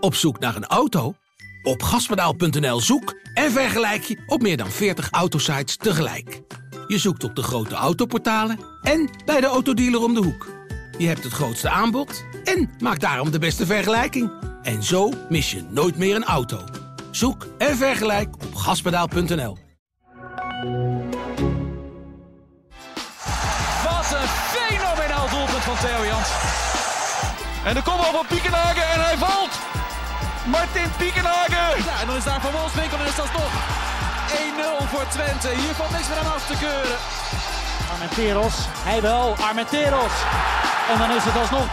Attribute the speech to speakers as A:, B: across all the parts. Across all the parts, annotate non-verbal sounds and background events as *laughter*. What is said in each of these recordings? A: Op zoek naar een auto? Op gaspedaal.nl zoek en vergelijk je op meer dan 40 autosites tegelijk. Je zoekt op de grote autoportalen en bij de autodealer om de hoek. Je hebt het grootste aanbod en maakt daarom de beste vergelijking. En zo mis je nooit meer een auto. Zoek en vergelijk op gaspedaal.nl.
B: Wat een fenomenaal doelpunt van Theo Jans. En de kom van Piekenhagen en hij valt. Martin Piekenhagen. Ja, en dan is daar Van Wolfswinkel en is dat nog 1-0 voor Twente. Hier valt niks meer aan af te keuren.
C: Armenteros, hij wel, Armenteros. En dan is het alsnog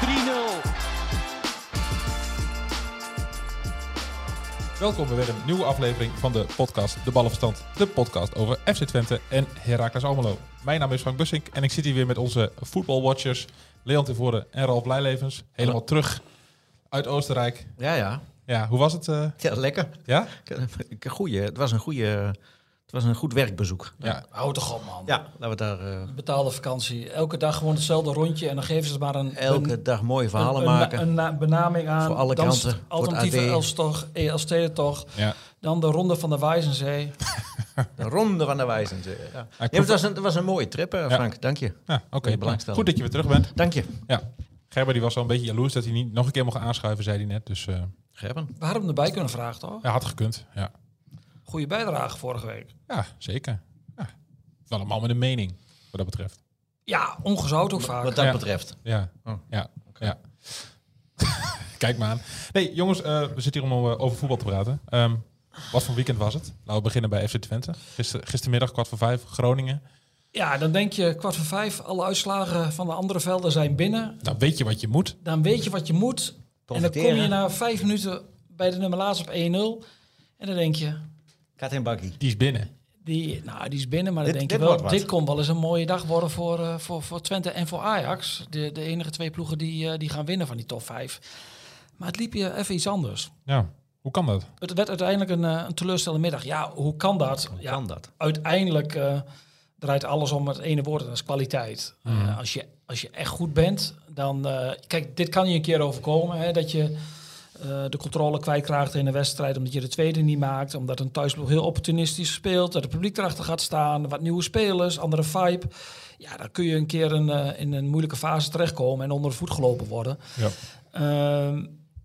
C: 3-0.
D: Welkom bij weer een nieuwe aflevering van de podcast De Ballenverstand. De podcast over FC Twente en Heracles Almelo. Mijn naam is Frank Bussink en ik zit hier weer met onze voetbalwatchers Leon Tevoren en Ralf Blijlevens. Helemaal terug uit Oostenrijk.
E: Ja, ja.
D: Ja, hoe was het? eh?
E: Ja, lekker.
D: ja?
E: Ik- Goeie, het was een goede, het was een goed werkbezoek.
D: Ja.
F: Houd toch op, man.
E: Ja, laten we het daar eh,
F: Betaalde vakantie. Elke dag gewoon hetzelfde rondje. En dan geven ze er maar een,
E: elke
F: een,
E: dag mooie verhalen
F: een,
E: maken.
F: Een, na- benaming aan.
E: Voor alle
F: Dan
E: kranten,
F: st-
E: voor het
F: Alternatieve E
E: AD.
F: Elstocht, Elstedentocht.
D: ja.
F: Dan de Ronde van de Wijzenzee.
E: de ronde van de wijzen. Ja. Ja, maar
D: klopt.
E: het, was een, het was een mooie trip, eh, Frank. Dank je.
D: Ja, oké.
E: je belangstelling.
D: Goed dat je weer terug bent.
E: Dank je.
D: Ja. Gerber die was al een beetje jaloers dat hij niet nog een keer mocht aanschuiven, zei hij net. Dus eh
E: Gerben.
F: We hadden hem erbij kunnen vragen, toch?
D: ja, had gekund. Ja,
F: Goede bijdrage vorige week.
D: ja zeker. Ja. Wel een man met een mening, wat dat betreft.
F: Ja, ongezout ook vaak.
E: Wat dat
D: Ja.
E: betreft.
D: Ja,
E: Oh.
D: ja, ja. *laughs* Kijk maar aan. Nee, jongens, eh, we zitten hier om eh, over voetbal te praten. Ehm, wat voor weekend was het? Laten we beginnen bij FC Twente. Gister, gistermiddag kwart voor vijf, Groningen.
F: Ja, dan denk je kwart voor vijf. Alle uitslagen van de andere velden zijn binnen.
D: Dan Nou, weet je wat je moet.
F: Dan weet je wat je moet. En dan kom je
E: Profiteren.
F: na vijf minuten bij de nummer laatst op 1-0. En dan denk je,
E: Kat en bakkie.
D: Die is binnen.
F: Die, nou, die is binnen, maar
E: Dit-
F: dan denk
E: dit
F: je wel,
E: wordt wat.
F: dit kon wel eens een mooie dag worden voor, eh, voor, voor Twente en voor Ajax. De, de enige twee ploegen die, eh, die gaan winnen van die top 5. Maar het liep je even iets anders.
D: Ja, hoe kan dat?
F: Het werd uiteindelijk een, eh, een teleurstellende middag. Ja, hoe kan dat?
E: Hoe
F: Ja,
E: kan dat?
F: Uiteindelijk eh, draait alles om het ene woord en dat is kwaliteit.
E: Mhm.
F: Eh, als, je, als je echt goed bent, dan... eh, kijk, dit kan je een keer overkomen, hè, dat je eh, de controle kwijtraakt in een wedstrijd... omdat je de tweede niet maakt, omdat een thuisploeg heel opportunistisch speelt... dat het publiek erachter gaat staan, wat nieuwe spelers, andere vibe. Ja, dan kun je een keer een, eh, in een moeilijke fase terechtkomen en onder de voet gelopen worden.
D: Ja.
F: Ehm,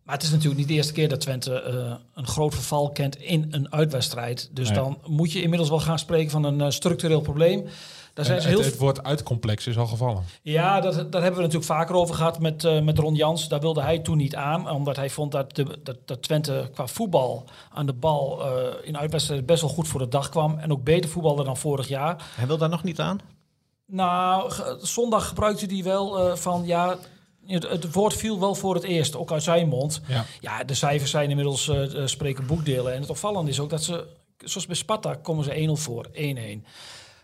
F: maar het is natuurlijk niet de eerste keer dat Twente eh, een groot verval kent in een uitwedstrijd. Dus
D: Nee.
F: dan moet je inmiddels wel gaan spreken van een eh, structureel probleem. Daar zijn
D: Het,
F: ze heel
D: het, het woord uitcomplex is al gevallen.
F: ja, dat, daar hebben we natuurlijk vaker over gehad met, eh, met Ron Jans. Daar wilde hij toen niet aan, omdat hij vond dat, de, dat, dat Twente qua voetbal aan de bal eh, in uitwedstrijden best wel goed voor de dag kwam. En ook beter voetbalde dan vorig jaar.
E: Hij wil daar nog niet aan?
F: Nou, ge- zondag gebruikte hij wel eh, van ja. Het, het woord viel wel voor het eerst, ook uit zijn mond.
D: Ja.
F: Ja, de cijfers zijn inmiddels eh, eh, spreken boekdelen. En het opvallende is ook dat ze, zoals bij Sparta, komen ze 1-0 voor, 1-1.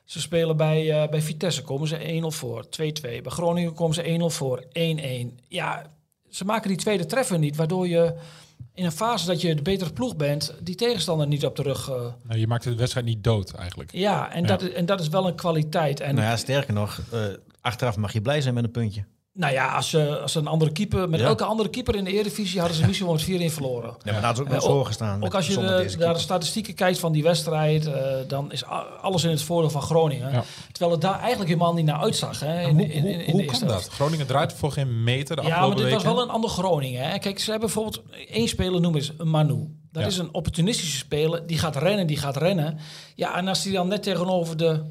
F: Ze spelen bij, eh, bij Vitesse, komen ze 1-0 voor, 2-2. Bij Groningen komen ze 1-0 voor, 1-1. Ja, ze maken die tweede treffer niet, waardoor je in een fase dat je de betere ploeg bent, die tegenstander niet op de rug. eh,
D: Nou, je maakt de wedstrijd niet dood eigenlijk.
F: ja, en,
D: Ja.
F: Dat, en dat is wel een kwaliteit. En
E: Nou ja, sterker nog, eh, achteraf mag je blij zijn met een puntje.
F: Nou ja, als, ze als ze een andere keeper, met
E: Ja.
F: elke andere keeper in de Eredivisie hadden ze misschien wel met 4-1 verloren.
E: Ja, maar daar is ook nog
F: Eh, ook-
E: zo gestaan.
F: Ook
E: met-
F: als je
E: zonder
F: de,
E: deze
F: naar de
E: keeper.
F: statistieken kijkt van die wedstrijd, eh, dan is a- alles in het voordeel van Groningen.
D: Ja.
F: Terwijl het daar eigenlijk helemaal niet naar uitzag. Hè, in,
D: hoe
F: in- in-
D: hoe,
F: in de
D: hoe
F: eerste
D: kan dat?
F: helft.
D: Groningen draait voor geen meter de
F: Ja, maar
D: afgelopen
F: dit was
D: weken.
F: wel een ander Groningen. Hè. Kijk, ze hebben bijvoorbeeld één speler, noemen ze een Manu. Dat
D: Ja.
F: is een opportunistische speler, die gaat rennen, die gaat rennen. Ja, en als die dan net tegenover de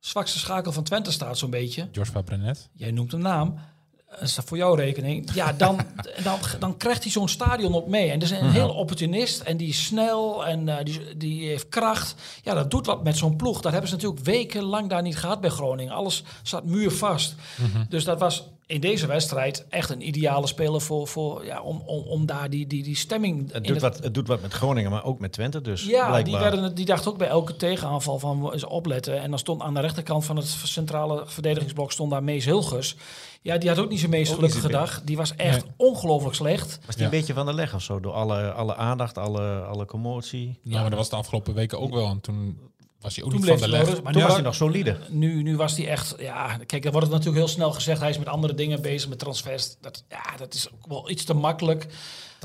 F: zwakste schakel van Twente staat, zo'n beetje
D: Joshua Brenet.
F: jij noemt een naam, eh, is dat voor jouw rekening? Ja,
E: *laughs*
F: dan, dan, dan krijgt hij zo'n stadion op mee. En dat is een heel opportunist en die is snel en eh, die, die heeft kracht. Ja, dat doet wat met zo'n ploeg. Dat hebben ze natuurlijk wekenlang daar niet gehad bij Groningen. Alles zat muurvast.
E: Mhm.
F: Dus dat was in deze wedstrijd echt een ideale speler voor, voor, ja, om, om, om daar die, die, die stemming... in
E: het, doet wat, het doet wat met Groningen, maar ook met Twente dus.
F: ja, die,
E: blijkbaar.
F: werden, het- die dacht ook bij elke tegenaanval van we eens opletten. En dan stond aan de rechterkant van het centrale verdedigingsblok stond daar Mees Hilgers. Ja, die had ook niet zijn meest
E: Ook niet
F: gelukkige
E: zijn
F: dag. Die was echt ongelooflijk slecht.
E: Was die
D: Ja.
E: een beetje van de leg of zo? Door alle, alle aandacht, alle, alle commotie?
D: Nou, maar dat was de afgelopen weken ook wel. En toen was hij ook
F: Toen
D: niet van
F: bleef
D: de
F: hij
D: leg.
F: wel- maar
E: Toen
F: toen
E: was
F: wa-
E: hij nog solide.
F: Nu, nu was hij echt, ja, kijk, dan wordt het natuurlijk heel snel gezegd. Hij is met andere dingen bezig, met transfers. Dat, ja, dat is ook wel iets te makkelijk.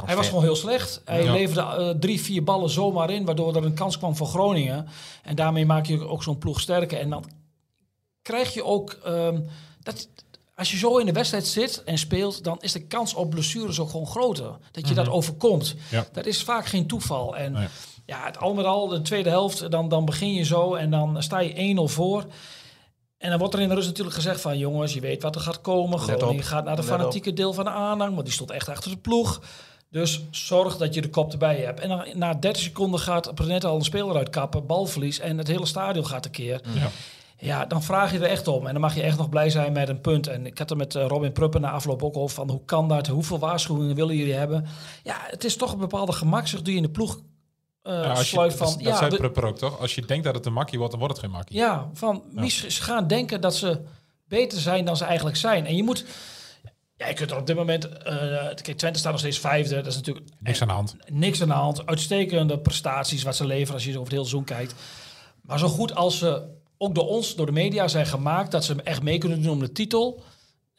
F: Hij was gewoon heel slecht. Hij
D: Ja.
F: leverde eh, drie, vier ballen zomaar in, waardoor er een kans kwam voor Groningen. En daarmee maak je ook zo'n ploeg sterker. En dan krijg je ook, ehm, dat, als je zo in de wedstrijd zit en speelt, dan is de kans op blessures ook gewoon groter. Dat je dat overkomt.
D: Mhm. Ja.
F: Dat is vaak geen toeval. En
D: Nee.
F: ja, het al met al, de tweede helft, dan, dan begin je zo en dan sta je 1-0 voor. En dan wordt er in de rust natuurlijk gezegd van... jongens, je weet wat er gaat komen.
E: op.
F: Groningen gaat naar de
E: Let
F: fanatieke deel van de aanhang... want die stond echt achter de ploeg. Dus zorg dat je de kop erbij hebt. En dan, na 30 seconden gaat Brenet al een speler uitkappen... balverlies en het hele stadion gaat tekeer.
D: Ja.
F: Ja, dan vraag je er echt om. En dan mag je echt nog blij zijn met een punt. En ik had er met eh, Robin Pruppen na afloop ook over van... hoe kan dat? Hoeveel waarschuwingen willen jullie hebben? Ja, het is toch een bepaalde gemakzucht die je in de ploeg eh
D: Ja, als je,
F: sluit van...
D: dat dat zei
F: we-
D: Prupper ook, toch? Als je denkt dat het een makkie wordt, dan wordt het geen makkie.
F: ja, van mis- ze gaan denken dat ze beter zijn dan ze eigenlijk zijn. En je moet... Ja, je kunt er op dit moment... eh kijk, Twente staat nog steeds vijfde. Dat is natuurlijk
D: Niks aan de hand.
F: niks aan de hand. Uitstekende prestaties wat ze leveren als je over het hele seizoen kijkt. Maar zo goed als ze ook door ons, door de media zijn gemaakt... dat ze echt mee kunnen doen om de titel...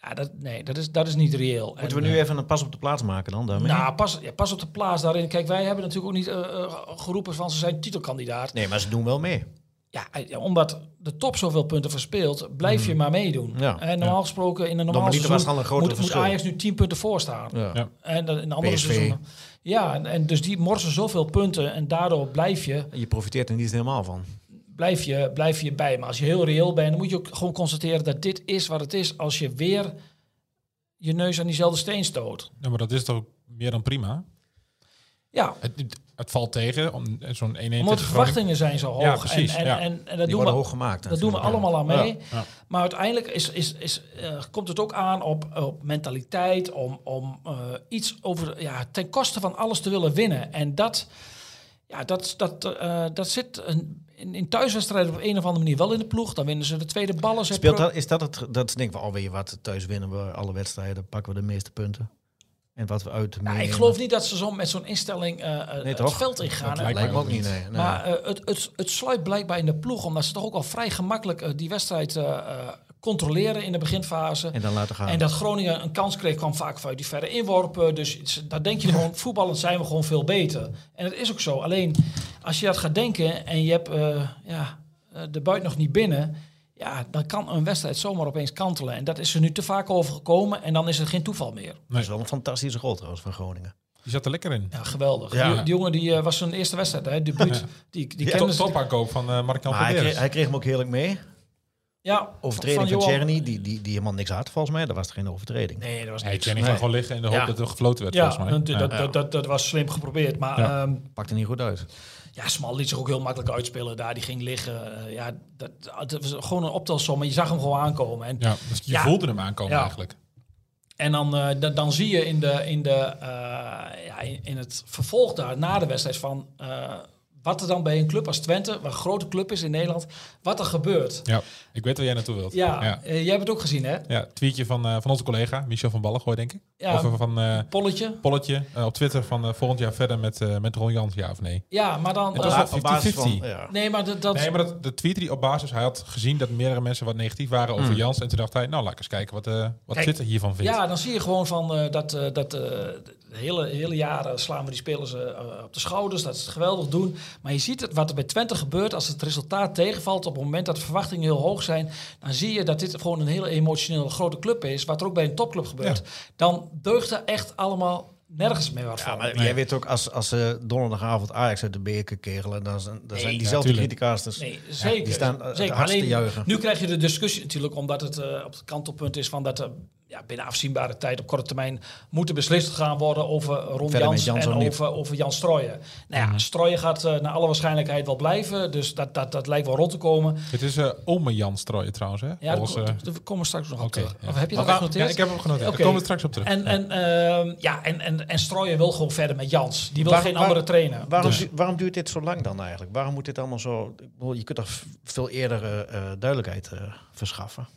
F: Ja, dat, nee, dat is, dat is niet reëel.
E: Moeten
F: En- eh,
E: we nu even een pas op de plaats maken dan? Daarmee?
F: nou, pas, ja, pas op de plaats daarin. Kijk, wij hebben natuurlijk ook niet eh, eh, geroepen van ze zijn titelkandidaat.
E: Nee, maar ze doen wel mee.
F: Ja, eh, omdat de top zoveel punten verspeelt, blijf je maar meedoen.
E: Hmm. Ja.
F: en normaal gesproken in een normaal
E: Normaliter
F: seizoen
E: was het al een groter
F: moet, moet
E: verschil.
F: Ajax nu 10 punten voor staan.
E: Ja.
D: Ja.
F: En dan in andere
E: PSV.
F: seizoenen. Ja, en, en dus die morsen zoveel punten en daardoor blijf je,
E: Je profiteert er niet helemaal van.
F: blijf, je, blijf je bij. Maar als je heel reëel bent, dan moet je ook gewoon constateren dat dit is wat het is als je weer je neus aan diezelfde steen stoot.
D: Ja, maar dat is toch meer dan prima?
F: Ja,
D: Het, het, het valt tegen, om- zo'n 1-1
F: omdat de
D: tegen Groningen.
F: verwachtingen zijn zo hoog.
D: Ja, precies,
F: En, en,
D: ja.
F: en, en, dat
E: Die
F: doen we
E: worden hoog gemaakt.
F: Dat doen we
E: natuurlijk.
F: allemaal aan mee.
D: ja.
F: Maar uiteindelijk is, is, is, eh, komt het ook aan op, op mentaliteit, om, om eh, iets over, ja, ten koste van alles te willen winnen. En dat, ja, dat, dat, eh, dat zit een, in, in thuiswedstrijden op een of andere manier wel in de ploeg. Dan winnen ze de tweede ballen. Ze
E: Speelt dat, is dat het, dat ze denken we alweer wat, thuis winnen we alle wedstrijden, pakken we de meeste punten. En wat we uit
F: Ja, ik
E: meenemen.
F: geloof niet dat ze zo met zo'n instelling eh, eh, het
E: toch?
F: veld ingaan.
D: Dat lijkt
E: Lijkt me ook
D: Nee.
E: niet, nee. nee.
F: Maar eh, het, het, het sluit blijkbaar in de ploeg, omdat ze toch ook al vrij gemakkelijk eh, die wedstrijd eh, eh, controleren in de beginfase.
E: en dan laten gaan.
F: eh, En dat Groningen een kans kreeg, kwam vaak vanuit die verre inworpen. Dus ze- daar
E: *laughs*
F: denk je gewoon, voetballend zijn we gewoon veel beter. En dat is ook zo. Alleen, als je dat gaat denken en je hebt eh, ja, eh, de buit nog niet binnen... Ja, dan kan een wedstrijd zomaar opeens kantelen. En dat is er nu te vaak overgekomen en dan is het geen toeval meer.
E: dat is wel een fantastische goal trouwens van Groningen.
D: Die zat er lekker in.
F: Ja, geweldig.
E: Ja.
F: Die, die jongen die, eh, was zijn eerste wedstrijd, hè, debuut. Die, die
D: Top,
F: kende ze-
D: topaankoop van eh Mark-Jan
E: dus- Maar hij, kreeg,
D: Verderens.
E: hij kreeg hem ook heerlijk mee.
F: Ja,
E: Overtreding van,
F: Johan-
E: Tjerni, die, die, die helemaal niks had volgens mij. Dat was er geen overtreding.
F: Nee, dat was
D: Nee,
F: niks.
D: Jenny ging
E: Nee.
D: gewoon liggen in de hoop
E: Ja.
D: dat er gefloten werd,
F: Ja,
D: volgens mij.
F: dat, dat,
D: Ja.
F: dat, dat, dat was slim geprobeerd. Maar
D: Ja.
F: ehm,
E: Pakte niet goed uit.
F: Ja, Smal liet zich ook heel makkelijk uitspelen daar. Die ging liggen. Eh, ja, dat, dat was gewoon een optelsom. En je zag hem gewoon aankomen. En,
D: Ja, dus je
F: Ja.
D: voelde hem aankomen
F: Ja.
D: eigenlijk.
F: en dan, eh, da- dan zie je in, de, in, de, eh, ja, in, in het vervolg daar, na de wedstrijd, van eh, wat er dan bij een club als Twente, wat een grote club is in Nederland, wat er gebeurt.
D: Ja, ik weet waar jij naartoe wilt.
F: Ja,
D: ja.
F: eh, jij hebt het ook gezien, hè?
D: Ja, tweetje van, eh, van onze collega, Michel van Ballengooi, denk ik.
F: Ja.
D: Of eh, van eh,
F: Polletje.
D: Polletje eh, op Twitter van eh, volgend jaar verder met, eh, met Ron Jans, ja of nee?
F: Ja, maar dan...
D: dat is
F: eh,
D: wel 50-50.
E: ja.
F: nee, maar dat... dat
D: Nee, maar dat, de tweet die op basis, hij had gezien dat meerdere mensen wat negatief waren over Jans. En toen dacht hij, nou laat ik eens kijken wat, eh wat
F: Hmm. Kijk,
D: Twitter hiervan vindt.
F: Ja, dan zie je gewoon van eh, dat, eh, dat eh, de hele, hele jaren slaan we die spelers eh, op de schouders. Dat ze het geweldig doen. Maar je ziet het, wat er bij Twente gebeurt als het resultaat tegenvalt. Op het moment dat de verwachtingen heel hoog zijn. Dan zie je dat dit gewoon een hele emotioneel grote club is. Wat er ook bij een topclub gebeurt. Dan deugt er echt allemaal nergens meer wat
E: Ja,
F: van.
E: maar jij weet ook, als, als ze donderdagavond Ajax uit de beker kegelen, dan zijn, dan zijn
F: Nee,
E: diezelfde
D: tuurlijk.
E: criticaars. Dus
F: Nee, zeker.
E: die staan, eh,
F: zeker.
E: hard te
F: Alleen,
E: juichen.
F: Nu krijg je de discussie natuurlijk, omdat het eh, op het kantelpunt is van dat er ja, binnen afzienbare tijd op korte termijn moeten beslist gaan worden over Ron
E: Verder met
F: Jans,
E: Jans
F: en
E: of niet. Mhm.
F: over, over Jan Strooijen. Nou ja, Strooijen gaat eh, naar alle waarschijnlijkheid wel blijven, dus dat, dat, dat lijkt wel rond te komen.
D: Het is eh ome Jans Strooijen trouwens, hè?
F: Ja,
D: Volgens,
F: daar
D: eh,
F: ko- daar komen we straks nog op
D: oké,
F: terug.
D: ja.
F: Of heb je
D: Maar
F: dat al
D: waar-
F: genoteerd?
D: Ja, ik heb hem genoteerd.
F: Oké.
D: Daar komen we straks op terug.
F: En, en, ehm, ja, en, en, en Strooijen wil gewoon verder met Jans. Die wil
E: Waar-
F: geen
E: waar-
F: andere trainer.
E: Waarom,
D: Dus-
E: du- waarom duurt dit zo lang dan eigenlijk? Waarom moet dit allemaal zo... ik bedoel, Je kunt toch v- veel eerder eh, eh, duidelijkheid eh, verschaffen?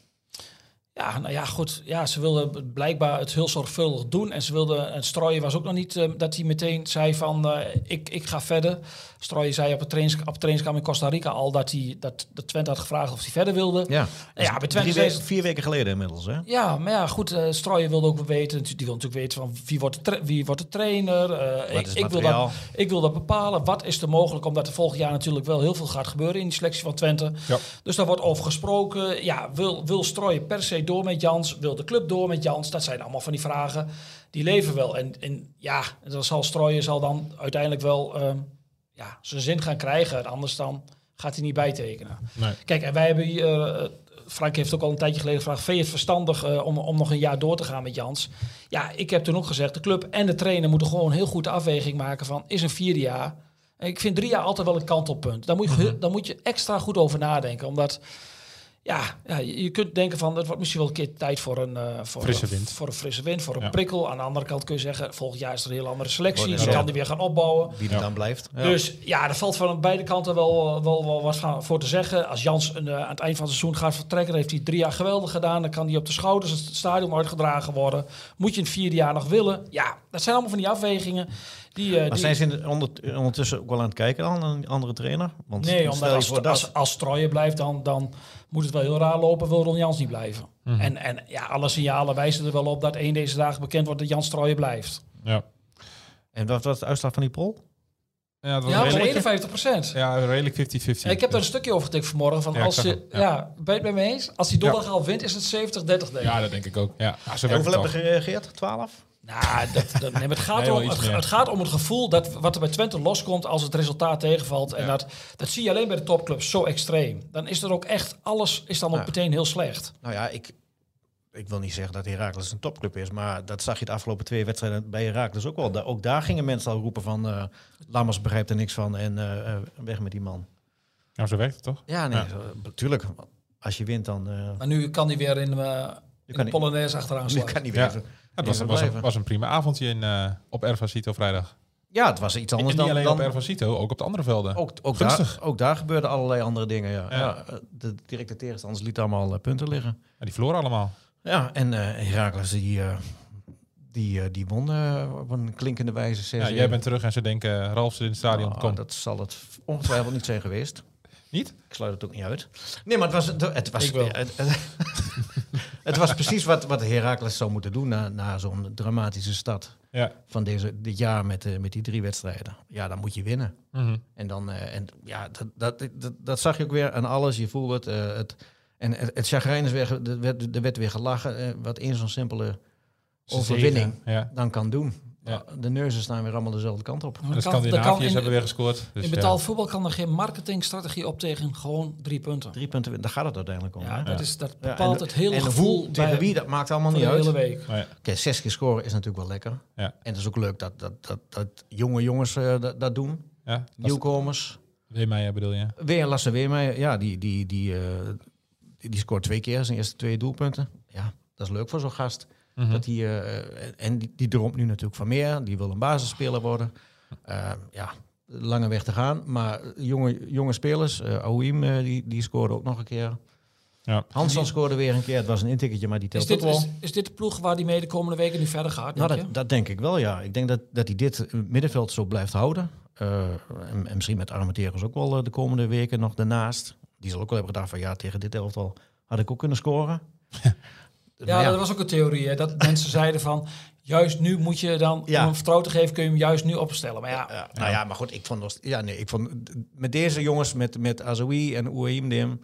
F: Ja, nou ja, goed. Ja, ze wilden blijkbaar het heel zorgvuldig doen. En ze wilden, en Strooien was ook nog niet eh, dat hij meteen zei van, eh, ik, ik ga verder. Strooien zei op het trainings, op het trainingskamp in Costa Rica al dat, hij, dat, dat Twente had gevraagd of hij verder wilde.
E: Ja,
F: Ja, bij Twente
E: Drie
F: zijn
E: weken- vier weken geleden inmiddels, hè?
F: Ja, maar ja, goed. eh Strooijen wilde ook weten. Die wil natuurlijk weten van wie wordt de, tra- wie wordt de trainer. eh, ik,
E: is
F: ik, wil dat,
E: materiaal?
F: ik wil dat bepalen. Wat is er mogelijk? Omdat er volgend jaar natuurlijk wel heel veel gaat gebeuren in die selectie van Twente.
D: Ja.
F: Dus daar wordt over gesproken. Ja, wil, wil Strooijen per se door met Jans? Wil de club door met Jans? Dat zijn allemaal van die vragen. Die leven wel. En, en ja, dan zal Strooijen zal dan uiteindelijk wel ehm, ja, zijn zin gaan krijgen. En anders dan gaat hij niet bijtekenen.
D: Nee.
F: Kijk, en wij hebben hier, eh, Frank heeft ook al een tijdje geleden gevraagd... vind je het verstandig eh, om, om nog een jaar door te gaan met Jans? Ja, ik heb toen ook gezegd... de club en de trainer moeten gewoon heel goed de afweging maken van... is een vierde jaar... En Ik vind drie jaar altijd wel een kantelpunt. Daar moet je,
D: Mhm.
F: ge- daar moet je extra goed over nadenken. Omdat ja, ja, je je kunt denken van... het wordt misschien wel een keer tijd voor een, eh, voor,
D: Frisse
F: een-
D: wind.
F: voor een frisse wind, voor een
D: Ja.
F: prikkel. Aan de andere kant kun je zeggen... volgend jaar is er een heel andere selectie.
E: Wordt
F: Dan
E: er
F: kan
E: zo.
F: die weer gaan opbouwen.
E: Wie er dan blijft. Ja.
F: Dus ja, er valt van beide kanten wel, eh, wel, wel wat gaan- voor te zeggen. Als Jans een, eh, aan het eind van het seizoen gaat vertrekken, heeft hij drie jaar geweldig gedaan. Dan kan hij op de schouders het stadion uitgedragen worden. Moet je een vierde jaar nog willen? Ja, dat zijn allemaal van die afwegingen. Die, eh,
E: maar
F: die-
E: zijn ze in de- onder- ondertussen ook wel aan het kijken dan, een andere trainer? Want
F: Nee, omdat
E: stel je
F: als,
E: voor
F: als,
E: dat-
F: als, Troje blijft, dan, dan moet het wel heel raar lopen. Wil Ron Jans niet blijven.
E: Mhm.
F: En, en ja, alle signalen wijzen er wel op dat één deze dagen bekend wordt dat Jans Troje blijft.
D: Ja.
E: En wat was de uitslag van die poll?
D: Ja, het was
F: Ja, dat is
D: redelijk,
F: 51
D: ja, redelijk 50-50.
F: Ja, ik heb daar een stukje over getikt vanmorgen. Van
D: Ja, ik
F: als
D: zag
F: je,
D: het, ja.
F: ja. ben je het met me eens? Als die donderdag al wint, is het 70-30 denk ik.
D: Ja, dat denk ik ook. Ja, ja, zo
E: En
D: werkt
E: hoeveel
D: het
E: hebben
D: toch.
E: gereageerd? 12?
F: Nou, dat, dat, nee, maar het, gaat
D: Nee, wel
F: om,
D: iets
F: het,
D: meer.
F: het gaat om het gevoel dat wat er bij Twente loskomt als het resultaat tegenvalt. En
D: Ja.
F: dat, dat zie je alleen bij de topclubs zo extreem. Dan is er ook echt, alles is dan ook
E: Ja.
F: meteen heel slecht.
E: Nou ja, ik, ik wil niet zeggen dat Heracles een topclub is, maar dat zag je de afgelopen twee wedstrijden bij Heracles ook wel. Da- ook daar gingen mensen al roepen van eh Lammers begrijpt er niks van en eh, eh, weg met die man.
D: Ja, zo werkt het toch?
E: Ja, nee,
D: Ja.
E: zo- tuurlijk. Als je wint dan eh,
F: Maar nu kan hij weer in, eh in
E: kan
F: de
E: hij-
F: Polonaise achteraan
E: *laughs* je
F: slaan.
E: kan niet
D: Ja.
E: weten.
D: Ja, het was,
E: Even
D: was, een,
E: blijven.
D: was een prima avondje in, eh, op Ervasito vrijdag.
E: Ja, het was iets anders
D: en niet
E: dan,
D: alleen op
E: dan Oh.
D: Ervasito, ook op de andere velden.
E: ook, ook,
D: Gunstig.
E: daar, ook daar gebeurden allerlei andere dingen. Ja.
D: Ja.
E: Ja. eh, de directe tegenstanders lieten allemaal eh, punten liggen.
D: Ja, die verloren allemaal.
E: Ja, en eh Heracles die, eh, die, eh, die won eh, op een klinkende wijze. zes
D: Ja,
E: één.
D: jij bent terug en ze denken, Ralf zit in het stadion,
E: Ah,
D: kom.
E: Dat zal het ongetwijfeld niet zijn geweest.
D: Niet?
E: Ik sluit het ook niet uit. Nee, maar het was, het, het was,
F: Ik wel.
E: Het, *laughs* het was precies wat, wat Heracles zou moeten doen na, na zo'n dramatische start
D: Ja.
E: van deze, dit jaar met, eh, met die drie wedstrijden. Ja, dan moet je winnen.
D: Mhm.
E: En, dan, eh, en ja, dat, dat, dat, dat zag je ook weer aan alles. Je voelde het. eh, het en het, het chagrijn is weer, ge- er werd, er werd weer gelachen. eh, wat in zo'n simpele overwinning
D: Zegen, Ja.
E: dan kan doen.
D: Ja.
E: De neuzen staan weer allemaal dezelfde kant op.
F: Maar
D: De
F: dat kan- dat kan
D: Scandinaviërs
F: in-
D: Dus hebben weer gescoord. Dus
F: in betaald voetbal kan er geen marketingstrategie op tegen gewoon drie punten.
E: Drie punten, win- daar gaat het uiteindelijk om.
F: Ja,
E: hè?
F: dat,
D: Ja.
F: is, dat
E: Ja, en
F: bepaalt
E: de-
F: het hele
E: en
F: gevoel
E: hoe, tegen
F: bij-
E: wie, dat maakt allemaal
F: voor
E: niet
F: de
E: uit.
F: hele
E: Oké,
F: week.
D: ja. Maar ja,
E: zes keer scoren is natuurlijk wel lekker.
D: Ja.
E: En het is ook leuk dat, dat, dat, dat jonge jongens eh, dat, dat doen.
D: ja. Dat is-
E: Nieuwkomers.
D: Weermeijer bedoel je?
E: Weer Lasse Weermeijer, ja, die, die, die, eh, die, die scoort twee keer zijn eerste twee doelpunten. Ja, dat is leuk voor zo'n gast.
D: Mhm.
E: Dat die, eh, en die, die droomt nu natuurlijk van meer. Die wil een basisspeler worden. Eh, ja, lange weg te gaan. Maar jonge, jonge spelers, eh Aouim, eh, die, die scoorde ook nog een keer.
D: Ja.
E: Hansson scoorde weer een keer. Het was een intikketje, maar die telt
F: Is dit,
E: ook wel.
F: is, is dit de ploeg waar die mee de komende weken nu verder gaat?
E: Nou,
F: denk
E: dat, dat denk ik wel, ja. Ik denk dat, dat hij dit middenveld zo blijft houden. Eh, en, en misschien met Armenteros ook wel eh, de komende weken nog daarnaast. Die zal ook wel hebben gedacht van ja, tegen dit elftal had ik ook kunnen scoren.
F: je?
E: Maar
F: Ja, dat was ook een theorie. Hè? Dat mensen zeiden van, juist nu moet je dan,
E: Ja.
F: om hem vertrouwen te geven, kun je hem juist nu opstellen. Maar ja,
E: Ja, nou ja, maar goed, ik vond, nog st- ja, nee, ik vond met deze jongens, met, met Azoui en Ouaimdem,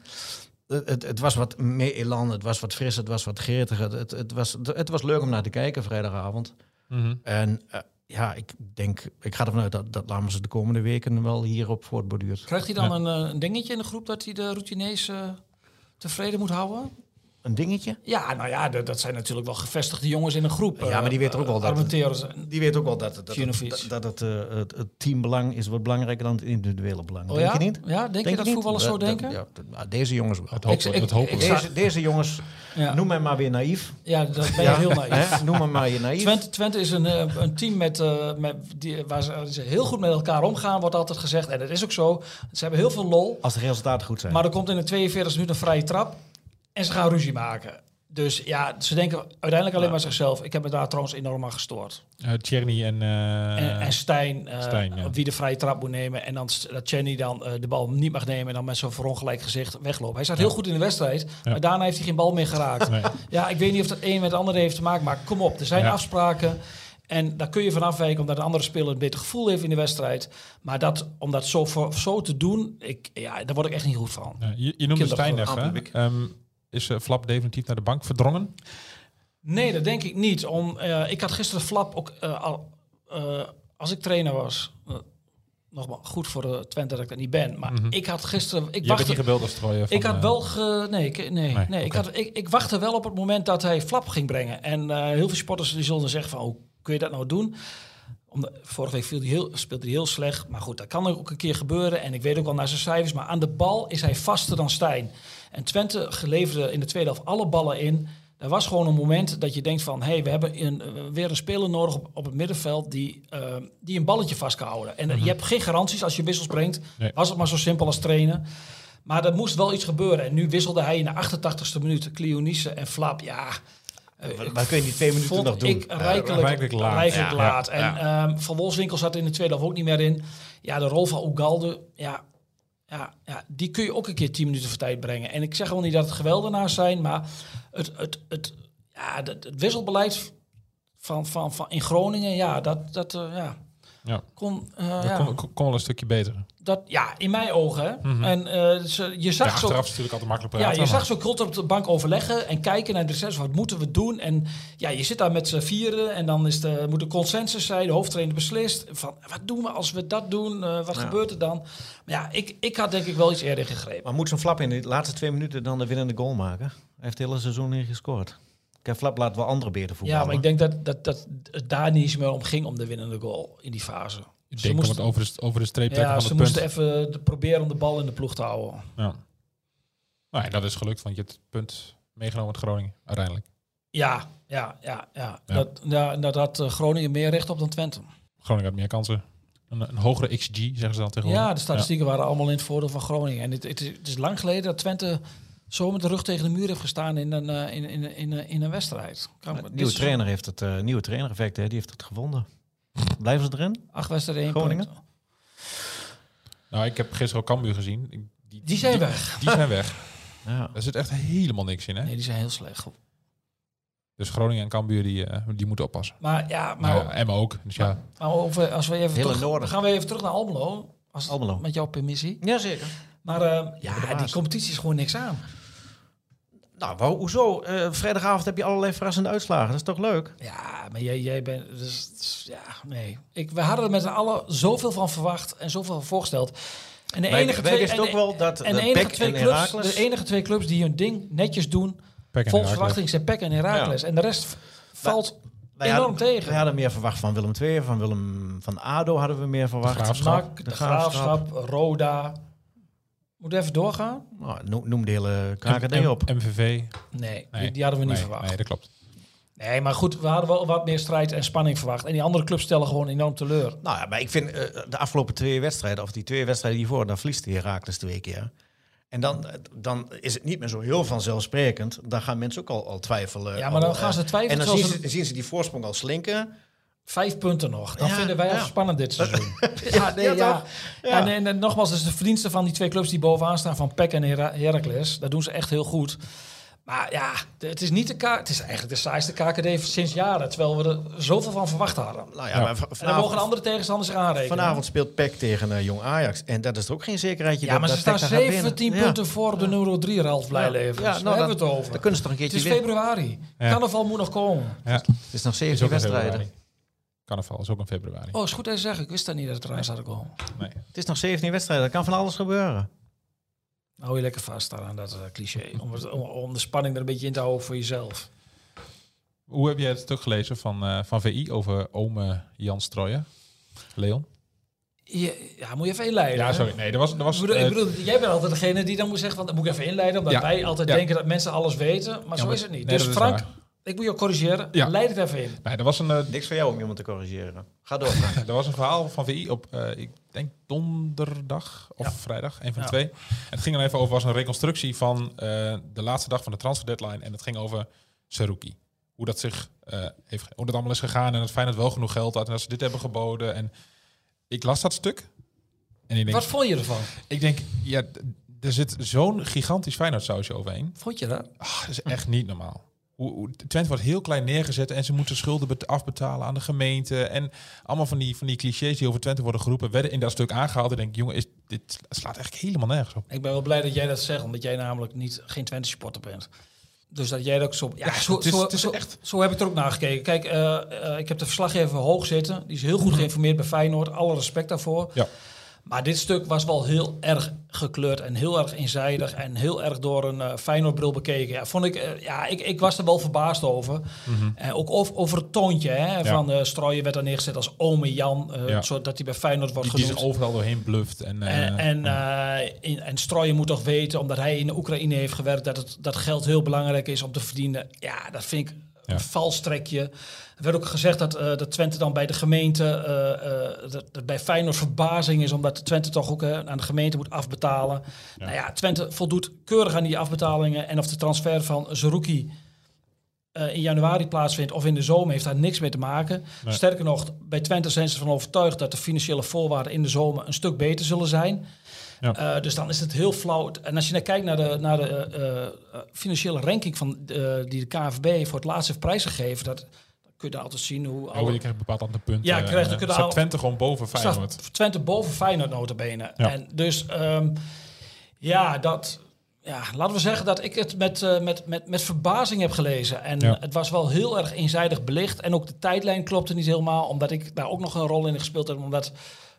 E: het, het, het was wat meer elan, het was wat fris, het was wat gretiger. Het, het, was, het was leuk om naar te kijken vrijdagavond.
D: Mhm.
E: En eh, ja, ik denk, ik ga ervan uit dat, dat Lammers het de komende weken wel hierop voortborduurt.
F: krijgt hij dan een, eh, een dingetje in de groep dat hij de routiniers eh, tevreden moet houden?
E: Een dingetje?
F: Ja, nou ja, dat, dat zijn natuurlijk wel gevestigde jongens in een groep. eh,
E: Ja, maar die weten ook wel dat-
F: Armenteros.
E: Die weet ook wel dat, dat,
F: Junovic.
E: dat, dat het, eh, het, het teambelang is wat belangrijker dan het individuele belang.
F: Oh
E: denk
F: ja?
E: je niet?
F: Ja, denk, je dat
E: niet?
F: voetballers zo
E: Dat- dat-
F: denken?
E: ja, dat- nou, deze jongens wel.
D: Het hopen,
F: Ik- ik-
D: het hopen
F: ik-
D: we.
F: ik-
E: Deze, deze jongens,
F: Ja.
E: noem mij maar weer naïef.
F: ja, dat ben je heel naïef.
E: Hè? Noem hem maar je naïef.
F: Twente, Twente is een, eh, een team met, eh, met die, waar ze, ze heel goed met elkaar omgaan, wordt altijd gezegd. En dat is ook zo. Ze hebben heel veel lol.
E: Als de resultaten goed zijn.
F: Maar er komt in de 42e minuut een vrije trap en ze gaan ruzie maken. Dus ja, ze denken uiteindelijk alleen maar zichzelf. Ik heb me daar trouwens enorm aan gestoord.
D: Eh Tierney en... eh,
F: en, en Stijn, eh,
D: Stijn, ja.
F: wie de vrije trap moet nemen. En dan s- dat Chenny dan eh, de bal niet mag nemen. En dan met zo'n verongelijk gezicht wegloopt. Hij zat heel goed in de wedstrijd. Maar daarna heeft hij geen bal meer geraakt.
D: Nee.
F: Ja, ik weet niet of dat een met het andere heeft te maken. Maar kom op, er zijn
D: Ja.
F: afspraken. En daar kun je van afwijken omdat een andere speler een beter gevoel heeft in de wedstrijd. Maar dat, om dat zo, voor- zo te doen, ik, ja, daar word ik echt niet goed van.
D: ja, je, je noemde Stijn
F: Kinderachtig.
D: even. hè? Ehm, is eh, Flap definitief naar de bank verdrongen?
F: Nee, dat denk ik niet. Om, eh, ik had gisteren Flap ook eh, al. eh, als ik trainer was. eh, nogmaals, goed voor de Twente dat ik dat niet ben. Maar ik had gisteren. Ik
D: Je hebt het niet
F: wachtte.
D: gebeld als trooien van...
F: Ik had
D: eh,
F: wel ge, nee, ik, nee, nee,
D: oké.
F: ik, had, ik, ik wachtte wel op het moment dat hij flap ging brengen. En eh, heel veel sporters die zullen dan zeggen van, oh, kun je dat nou doen? Omdat, vorige week viel die heel, speelde hij heel slecht, maar goed, dat kan ook een keer gebeuren. En ik weet ook wel naar zijn cijfers, maar aan de bal is hij vaster dan Stijn. En Twente geleverde in de tweede helft alle ballen in. Er was gewoon een moment dat je denkt van, hé, hey, we hebben een, eh, weer een speler nodig op, op het middenveld die, eh, die een balletje vast kan houden. En eh, je hebt geen garanties als je wissels brengt.
D: Mhm. Nee.
F: Was het maar zo simpel als trainen. Maar er moest wel iets gebeuren. En nu wisselde hij in de 88ste minuut Cleonice en Flap. Ja, eh,
E: Wat-
F: ik
E: wat kun je die twee minuten
F: vond
E: nog doen?
F: ik rijkelijk,
D: rijkelijk laat.
F: rijkelijk
D: Ja,
F: laat.
D: ja,
F: En ehm, Van Wolfswinkel zat in de tweede helft ook niet meer in. Ja, de rol van Ugalde, ja, ja, ja, die kun je ook een keer 10 minuten voor tijd brengen. En ik zeg wel niet dat het geweldenaars zijn, maar het, het, het, ja, het, het wisselbeleid van, van, van in Groningen, ja, dat, dat eh, ja,
D: Ja.
F: kon... eh, ja.
D: dat kon- kon, kon wel een stukje beter.
F: Dat, ja, in mijn ogen. hè. En eh, ze- je
D: Ja,
F: zag zo.
D: achteraf is natuurlijk altijd makkelijk
F: Ja,
D: praten.
F: je zag zo krot op de bank overleggen en kijken naar de recess. Wat moeten we doen? En ja, je zit daar met z'n vieren en dan is de, moet de consensus zijn. De hoofdtrainer beslist van wat doen we als we dat doen? Eh, wat gebeurt er dan? Maar ja, ik, ik had denk ik wel iets eerder gegrepen.
E: Maar moet zo'n flap in de laatste twee minuten dan de winnende goal maken? Hij heeft het hele seizoen niet gescoord. Kijk, flap laat wel andere beren voetballen.
F: Ja, maar ik denk dat, dat, dat het daar niet eens meer om ging om de winnende goal in die fase.
D: Ik
F: Ze
D: denk om het
F: moesten,
D: over de, over de streep trekken
F: ja, ze
D: van het punt.
F: moesten even de- proberen om de bal in de ploeg te houden.
D: Ja. Nou ja, dat is gelukt, want je hebt het punt meegenomen uit Groningen, uiteindelijk.
F: Ja, ja, ja, ja.
D: Ja.
F: Dat, ja, dat had eh, Groningen meer recht op dan Twente.
D: Groningen had meer kansen. Een, een hogere XG, zeggen ze dan tegenwoordig.
F: Ja, de statistieken waren allemaal in het voordeel van Groningen. En het, het, is, het is lang geleden dat Twente zo met de rug tegen de muur heeft gestaan in een, eh, in, in, in, in een wedstrijd. Kan-
E: Maar
F: dit
E: nieuwe
F: is
E: trainer heeft het eh, nieuwe trainer effect, hè, die heeft het gevonden. Blijven ze erin?
F: Acht wedstrijden één
E: Groningen?
F: punt.
D: Nou, ik heb gisteren ook Cambuur gezien. Ik-
F: Die zijn weg.
D: Die zijn weg.
E: Ja.
D: Daar zit echt helemaal niks in, hè?
F: Nee, die zijn heel slecht.
D: Dus Groningen en Cambuur, die, eh, die moeten oppassen.
F: Maar ja, maar,
D: Maar ja, Emma ook. Dus ja,
F: maar over- als we even
E: Hele
F: terug,
E: noorden.
F: gaan we even terug naar Almelo. Als,
E: Almelo.
F: Met jouw permissie.
E: Jazeker.
F: Maar eh,
E: de
F: ja, die
E: baas.
F: competitie is gewoon niks aan.
E: Nou, wa- hoezo? Eh, vrijdagavond heb je allerlei verrassende uitslagen. Dat is toch leuk?
F: Ja, maar jij, jij bent. Dus, dus- ja, nee. Ik, we hadden er met z'n allen zoveel van verwacht en zoveel van voorgesteld. En de
E: Wij-
F: enige
E: wij
F: twee,
E: wisten
F: en de-
E: ook wel dat
F: en
E: de
F: de enige
E: Pek
F: twee
E: en
F: clubs,
E: Heracles-
F: de enige twee clubs die hun ding netjes doen,
D: Pek
F: volgens
D: en Heracles.
F: verwachting zijn Peck en Herakles. En de rest v- valt enorm
E: hadden,
F: tegen.
E: Wij Nou hadden meer verwacht van Willem II, van Willem van ADO hadden we meer verwacht.
D: Graafschap.
F: NAC, de,
E: de
F: graafschap, Roda. Moet even doorgaan?
E: Nou, no- noem de hele
D: M-
E: KKD
D: M-
E: op.
D: MVV.
F: Nee,
D: Nee,
F: die, die hadden we niet
D: nee,
F: verwacht.
D: Nee, dat klopt.
F: Nee, maar goed, we hadden wel wat meer strijd en spanning verwacht. En die andere clubs stellen gewoon enorm teleur.
E: Nou ja, maar ik vind eh, de afgelopen twee wedstrijden, of die twee wedstrijden hiervoor, dan verliest Herakles twee keer. En dan, eh, dan is het niet meer zo heel vanzelfsprekend. Dan gaan mensen ook al, al twijfelen.
F: Ja, maar dan
E: al,
F: gaan
E: eh,
F: ze twijfelen
E: En dan
F: terwijl
E: zien ze,
F: ze-
E: zien ze die voorsprong al slinken.
F: Vijf punten nog. Dan
E: Ja,
F: vinden wij al
E: ja.
F: spannend dit seizoen. ja, nee, ja.
E: *laughs* ja, toch? Ja.
F: En, en, en nogmaals, dat is de verdienste van die twee clubs die bovenaan staan, van PEC en Hera- Heracles. Dat doen ze echt heel goed. Maar ja, de- het is, niet de K het is eigenlijk de saaiste KKD sinds jaren. Terwijl we er zoveel van verwacht hadden.
E: Nou ja,
D: Ja.
E: maar v-
F: En dan mogen de
E: vanavond,
F: andere tegenstanders zich aanrekenen.
E: vanavond speelt PEC tegen eh, Jong Ajax. En dat is er ook geen zekerheidje.
F: Ja,
E: dat-
F: maar ze
E: dat
F: staan
E: PEC daar gaat winnen.
F: 17
E: Ja.
F: punten voor de nummer 3 Ralf Blijlevens.
E: Ja,
F: Ja, Daar
E: nou, dat-
F: hebben we het over.
E: Dan kunnen ze toch een
F: het
E: keertje
F: is
E: winnen.
F: februari.
D: Ja.
F: Carnaval moet nog komen.
D: Ja,
E: Het is nog
D: is
E: 17
D: ook in
E: wedstrijden.
D: februari. Carnaval is ook in februari.
F: Oh, is goed dat je zegt. Ik wist dat niet dat het eraan zou komen.
D: Nee.
E: Het is nog 17 wedstrijden. Er kan van alles gebeuren.
F: Hou je lekker vast aan dat eh, cliché. Om, het- om, om de spanning er een beetje in te houden voor jezelf.
D: Hoe heb jij het stuk gelezen van, eh, van VI over ome Jan Strooijen? Leon?
F: Je- ja, moet je even inleiden.
D: Ja,
F: hè?
D: sorry. Nee, er was... Er was
F: Ik bedoel, ik
D: eh,
F: bedoel, jij bent altijd degene die dan moet zeggen, van, dat moet ik even inleiden. Omdat
D: Ja,
F: wij altijd
D: ja.
F: denken dat mensen alles weten. Maar zo
D: maar-
F: is het niet.
D: nee,
F: dus
D: dat is
F: Frank,
D: waar.
F: ik moet je corrigeren.
D: Ja.
F: Leid het even in.
D: nee, er was een, eh,
E: Niks voor jou om iemand te corrigeren. Ga door.
D: Er was een verhaal van VI op, eh, ik denk donderdag of
F: Ja.
D: vrijdag, een van
F: Ja.
D: de twee. En het ging dan even over, was een reconstructie van eh, de laatste dag van de transfer deadline. En het ging over Saruki. Hoe dat zich eh, heeft, hoe dat allemaal is gegaan en dat Feyenoord wel genoeg geld had en dat ze dit hebben geboden. En ik las dat stuk en ik denk,
F: Wat vond je ervan?
D: ik denk ja, d- er zit zo'n gigantisch Feyenoord sausje overheen.
F: Vond je dat?
D: Ah, dat is echt niet normaal. Hoe, hoe, Twente wordt heel klein neergezet en ze moeten schulden bet- afbetalen aan de gemeente. En allemaal van die, van die clichés die over Twente worden geroepen, werden in dat stuk aangehaald. En denk ik, jongen, is, dit slaat eigenlijk helemaal nergens op.
F: Ik ben wel blij dat jij dat zegt, omdat jij namelijk niet, geen Twente supporter bent. Dus dat jij dat ook zo... Ja, zo,
D: het is-
F: zo,
D: het is
F: zo,
D: echt-
F: zo heb ik er ook naar gekeken. Kijk, eh, eh, ik heb de verslaggever hoog zitten. Die is heel
D: Mhm.
F: goed geïnformeerd bij Feyenoord. Alle respect daarvoor.
D: Ja.
F: Maar dit stuk was wel heel erg gekleurd en heel erg eenzijdig en heel erg door een eh Feyenoordbril bekeken. Ja, vond ik, eh, ja ik, ik was er wel verbaasd over.
D: Mhm.
F: En ook over, over het toontje hè, van eh Strooijen werd er neergezet als ome Jan, eh
D: Ja.
F: zodat hij bij Feyenoord wordt
D: Die, die
F: genoemd.
D: zich overal doorheen bluft. En, eh,
F: En, en, eh, in, en Strooijen moet toch weten, omdat hij in de Oekraïne heeft gewerkt, dat, het, dat geld heel belangrijk is om te verdienen. Ja, dat vind ik
D: Ja.
F: een vals trekje. Er werd ook gezegd dat, eh, dat Twente dan bij de gemeente, eh, eh, dat, dat bij Feyenoord verbazing is, omdat Twente toch ook eh, aan de gemeente moet afbetalen. Nou ja, Twente voldoet keurig aan die afbetalingen. En of de transfer van Zerouki eh, in januari plaatsvindt of in de zomer, heeft daar niks mee te maken. Sterker nog, bij Twente zijn ze ervan overtuigd dat de financiële voorwaarden in de zomer een stuk beter zullen zijn.
D: Ja.
F: Eh, dus dan is het heel flauw. En als je naar kijkt naar de, naar de eh, eh, financiële ranking van, eh, die de KNVB voor het laatst heeft prijsgegeven, dat dan kun je daar altijd zien hoe
D: oh, je krijgt bepaald aantal punten.
F: Ja, krijgt
D: Eh,
F: ook een
D: staat
F: aantal-
D: Twente gewoon boven
F: staat
D: Feyenoord.
F: Twente boven Feyenoord notabene.
D: Ja.
F: En dus ehm, ja, dat, ja, laten we zeggen dat ik het met, eh, met, met, met verbazing heb gelezen. En
D: Ja.
F: het was wel heel erg eenzijdig belicht. En ook de tijdlijn klopte niet helemaal, omdat ik daar ook nog een rol in gespeeld heb. Omdat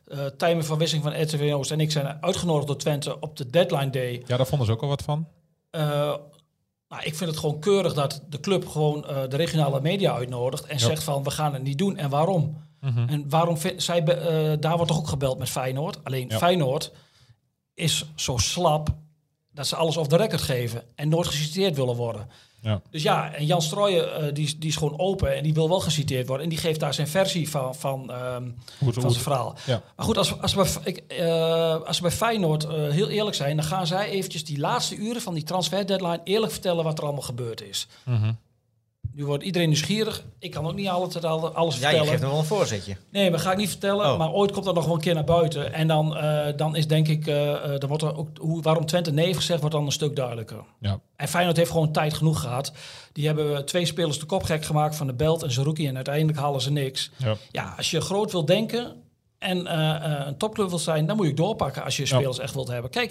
F: eh Tijmen van Wissing van RTV Oost en ik zijn uitgenodigd door Twente op de deadline day.
D: Ja, daar vonden ze ook al wat van.
F: Eh, nou, ik vind het gewoon keurig dat de club gewoon eh, de regionale media uitnodigt en zegt van we gaan het niet doen en waarom.
D: Mhm.
F: En waarom vind- zij, be- eh, daar wordt toch ook gebeld met Feyenoord. Alleen
D: Ja.
F: Feyenoord is zo slap dat ze alles off the record geven en nooit geciteerd willen worden.
D: Ja.
F: Dus ja, en Jan Strooijen eh, die, is- die is gewoon open en die wil wel geciteerd worden. En die geeft daar zijn versie van, van, ehm,
D: Hoe het-
F: van
D: hoe
F: zijn
D: het-
F: verhaal.
D: Ja.
F: Maar goed, als, als, we, bij F- ik, eh, als we bij Feyenoord eh, heel eerlijk zijn, dan gaan zij eventjes die laatste uren van die transfer deadline eerlijk vertellen wat er allemaal gebeurd is. Nu wordt iedereen nieuwsgierig. Ik kan ook niet altijd al- alles
E: Ja, je
F: vertellen.
E: geeft hem wel een voorzetje.
F: Nee, maar ga ik niet vertellen.
E: Oh.
F: Maar ooit komt dat nog wel een keer naar buiten. En dan, eh, dan is denk ik, eh, eh, dan wordt er ook hoe, waarom Twente nee heeft gezegd, wordt dan een stuk duidelijker.
D: Ja.
F: En Feyenoord heeft gewoon tijd genoeg gehad. Die hebben eh, twee spelers de kop gek gemaakt van de Belt en Zerouki. En uiteindelijk halen ze niks.
D: Ja.
F: Ja, als je groot wil denken en eh, eh, een topclub wil zijn, dan moet je ook doorpakken als je spelers echt wilt hebben. Kijk,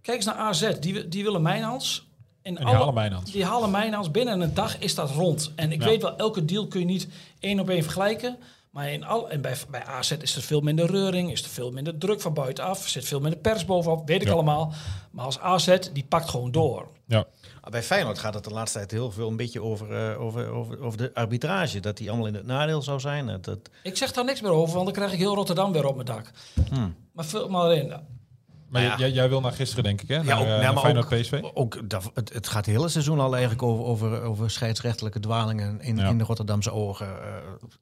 F: kijk eens naar AZ. Die, die willen Mijnans. En
D: die halen Mijnans.
F: Die halen Mijnans. Binnen een dag is dat rond. En ik
D: Ja.
F: weet wel, elke deal kun je niet één op één vergelijken. Maar in al, en bij, bij AZ is er veel minder reuring, is er veel minder druk van buitenaf, zit veel minder pers bovenop, weet ik
D: Ja.
F: allemaal. Maar als AZ, die pakt gewoon door.
D: Ja.
E: Ah, Bij Feyenoord gaat het de laatste tijd heel veel een beetje over, eh, over, over, over de arbitrage. Dat die allemaal in het nadeel zou zijn. Dat, dat,
F: Ik zeg daar niks meer over, want dan krijg ik heel Rotterdam weer op mijn dak.
D: Hmm.
F: Maar vul het maar in.
D: Maar
E: Ja.
D: Jij, jij wil naar gisteren, denk ik, hè? Naar,
E: ook-
D: eh,
E: ja,
D: naar
E: maar
D: Feyenoord PSV.
E: ook, daar- het, het gaat het hele seizoen al eigenlijk over, over, over scheidsrechtelijke dwalingen in,
D: Ja.
E: in de Rotterdamse ogen. Eh,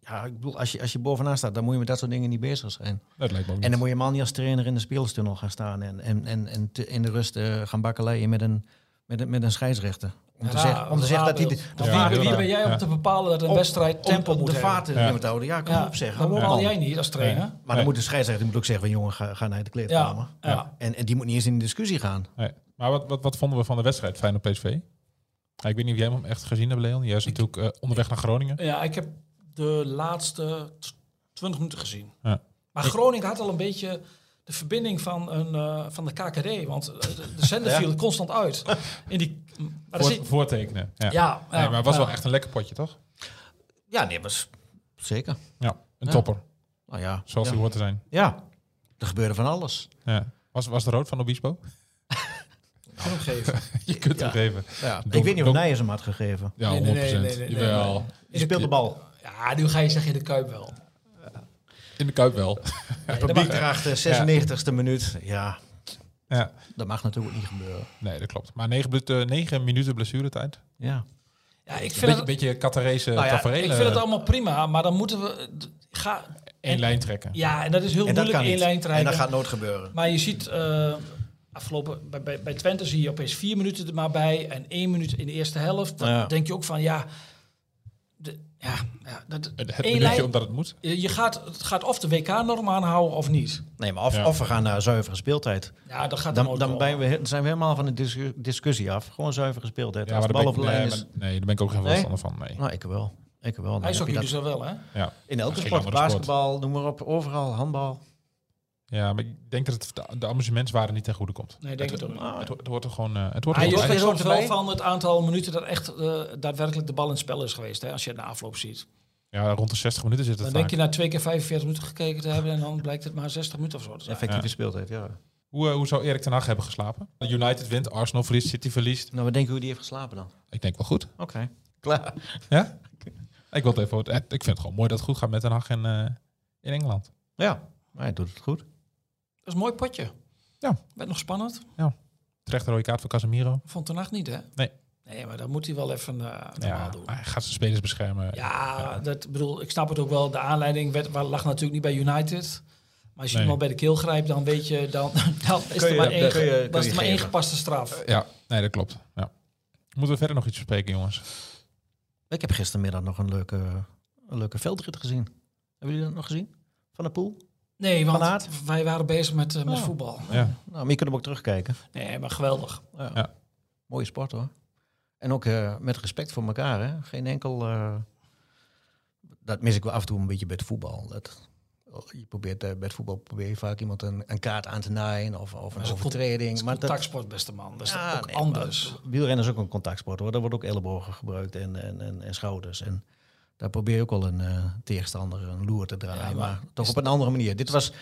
E: ja, ik bedoel, als je, als je bovenaan staat, dan moet je met dat soort dingen niet bezig zijn.
D: Dat lijkt me ook
E: En
D: niet.
E: dan moet je man niet als trainer in de speelstunnel gaan staan en, en, en, en te- in de rust eh, gaan bakkeleien met een, met een, met een scheidsrechter. Om te
F: Raar-
E: zeggen, om te zeggen dat hij de, de
D: Ja,
F: Waar-
E: vaart
D: heel
F: wie
D: raar.
F: ben jij om
D: Ja.
F: te bepalen dat een wedstrijd tempo
E: om
F: moet
E: de
F: hebben?
E: vaart in
D: Ja.
E: moet houden. Ja, kom
F: Ja,
E: op zeggen.
F: dat
E: Ja.
F: bepaal jij niet als trainer.
E: Maar dan moet de scheidsrechter moet ook zeggen van jongen, ga, ga naar de kleedkamer.
F: Ja, ja.
E: En, en die moet niet eens in de discussie gaan.
D: Nee. Maar wat, wat, wat vonden we van de wedstrijd Feyenoord PSV? Ja, ik weet niet of jij hem echt gezien hebt, Leon. Jij is natuurlijk eh, onderweg naar Groningen.
F: Ja, ik heb de laatste tw- 20 minuten gezien.
D: Ja.
F: Maar Groningen had al een beetje de verbinding van, een, eh, van de KKD. Want eh, de, de zender viel constant uit. In die, maar er
D: Voor-
F: zit-
D: voortekenen. Ja.
F: ja,
D: Nee, maar het was
F: ja.
D: wel echt een lekker potje, toch?
E: Ja, nee, was zeker.
D: Ja. Een topper,
E: Nou ja,
D: zoals
E: ja.
D: die hoort te zijn.
E: ja, er gebeurde van alles.
D: Ja. Was, was de rood van Obispo? *laughs*
F: Kan hem geven.
D: Je kunt hem geven.
E: Ja.
D: Donk-
E: ik weet niet of
D: donk-
E: Nijers hem had gegeven.
D: Ja, 100%.
F: Nee, nee, nee, nee, nee, nee,
D: Jawel.
F: nee.
E: Die speelt de bal.
F: Ja, nu ga je zeggen in de Kuip wel.
D: In de Kuip wel.
E: Publiek erachter, 96e minuut. Ja,
D: ja.
E: dat mag natuurlijk ook niet gebeuren.
D: Nee, dat klopt. Maar 9 minuten, negen minuten blessuretijd.
E: Ja.
F: Ja, ik
D: Een
F: vind,
D: beetje,
F: het,
D: beetje Catarese
E: Nou ja,
F: ik
D: tafereelen.
F: vind het allemaal prima, maar dan moeten we... d- Ga,
D: Eén lijn trekken.
F: ja, en dat is heel
E: En dat
F: moeilijk
E: kan
F: één
E: niet.
F: lijn te
E: En dat
F: rijden.
E: gaat nooit gebeuren.
F: Maar je ziet, eh, Afgelopen, bij, bij, bij Twente zie je opeens vier minuten er maar bij en één minuut in de eerste helft. Dan
E: Ja.
F: denk je ook van ja, de, ja, ja dat,
D: Het, het
F: één
D: minuutje
F: lijn-
D: omdat het moet.
F: je je gaat, het gaat of de WK-norm aanhouden of niet.
E: Nee, maar of,
D: Ja.
E: of we gaan naar zuivere speeltijd.
F: Ja, dat gaat
E: Dan, dan
F: wel.
E: zijn, we, he- zijn we helemaal van de discu- discussie af. Gewoon zuivere speeltijd. Als de
D: daar
E: bal
D: ben
E: op
D: ik,
E: de lijn
D: nee,
E: is.
D: maar- nee, daar ben ik ook geen
E: Nee?
D: voorstander van. Nee.
E: Nou, ik wel. Ik wel. Dan
F: Hij is
E: heb
F: ook
E: je
F: nu
E: dat
F: dus al wel, hè?
D: Ja.
E: in elke
D: Geen
E: sport.
D: andere sport.
E: Basketbal, noem maar op. Overal. Handbal.
D: ja, maar ik denk dat het de, de amusementswaarde niet ten goede komt.
F: Nee, Ah, ik denk
D: het,
F: het ook niet.
D: het, ho- het hoort er gewoon... eh, het hoort er
F: Hij
D: gewoon
F: is
D: bij.
F: er
E: is
F: soms
E: ook
F: wel
E: bij.
F: van het aantal minuten dat echt eh, daadwerkelijk de bal in het spel is geweest. Hè, als je het na afloop ziet.
D: Ja, rond de 60 minuten zit het
F: Dan
D: vaak.
F: denk je na twee keer 45 minuten gekeken te hebben en dan blijkt het maar 60 minuten of zo te zijn.
E: Effectieve speeltijd, ja.
D: Hoe, eh, hoe zou Erik ten Hag hebben geslapen? United wint, Arsenal verliest, City verliest.
E: Nou, wat denken hoe die heeft geslapen dan?
D: Ik denk wel goed.
E: Oké. Klaar.
D: Ja? Ik, wil het even, eh, ik vind het gewoon mooi dat het goed gaat met Den Haag en, eh, in Engeland.
E: Ja. Maar hij doet het goed.
F: Dat is een mooi potje.
D: Ja.
F: Werd nog spannend.
D: Terecht een rode kaart voor Casemiro.
F: Vond de nacht niet, hè?
D: Nee.
F: Nee, maar dat moet hij wel even eh normaal
D: Ja, Ah,
F: doen.
D: hij gaat zijn spelers beschermen.
F: Ja, dat bedoel, ik snap het ook wel. De aanleiding werd, waar lag natuurlijk niet bij United. Maar als je
D: Nee.
F: iemand bij de keel grijpt, dan weet je, dan, *laughs* dan is
E: Kun
F: er
E: je-
F: maar
E: kun
F: één,
E: je- kun je
F: dan is er maar één
E: geven.
F: gepaste straf.
D: Ja, nee, dat klopt. Ja. Moeten we verder nog iets bespreken, jongens?
E: Ik heb gistermiddag nog een leuke, een leuke veldrit gezien. Hebben jullie dat nog gezien? Van de pool?
F: Nee, want
E: Van Aert?
F: wij waren bezig met, eh, met
D: Oh.
F: voetbal.
D: Ja.
E: Nou, maar je kunt hem ook terugkijken.
F: Nee, maar geweldig.
D: Ja.
E: Mooie sport hoor. En ook eh, met respect voor elkaar. Hè? Geen enkel. eh, dat mis ik wel af en toe een beetje bij het voetbal. Dat, je probeert, eh, bij het voetbal probeer je vaak iemand een, een kaart aan te naaien of, of
F: Dat
E: een
F: is een
E: overtreding. Maar dat,
F: Contactsport, beste man. Dat is
E: Ja,
F: ook
E: nee,
F: anders.
E: wielrennen is ook een contactsport hoor. Daar wordt ook ellebogen gebruikt en, en, en, en schouders. En daar probeer je ook wel een eh, tegenstander een loer te draaien.
F: Ja, maar
E: maar, toch op een andere manier. Dit was,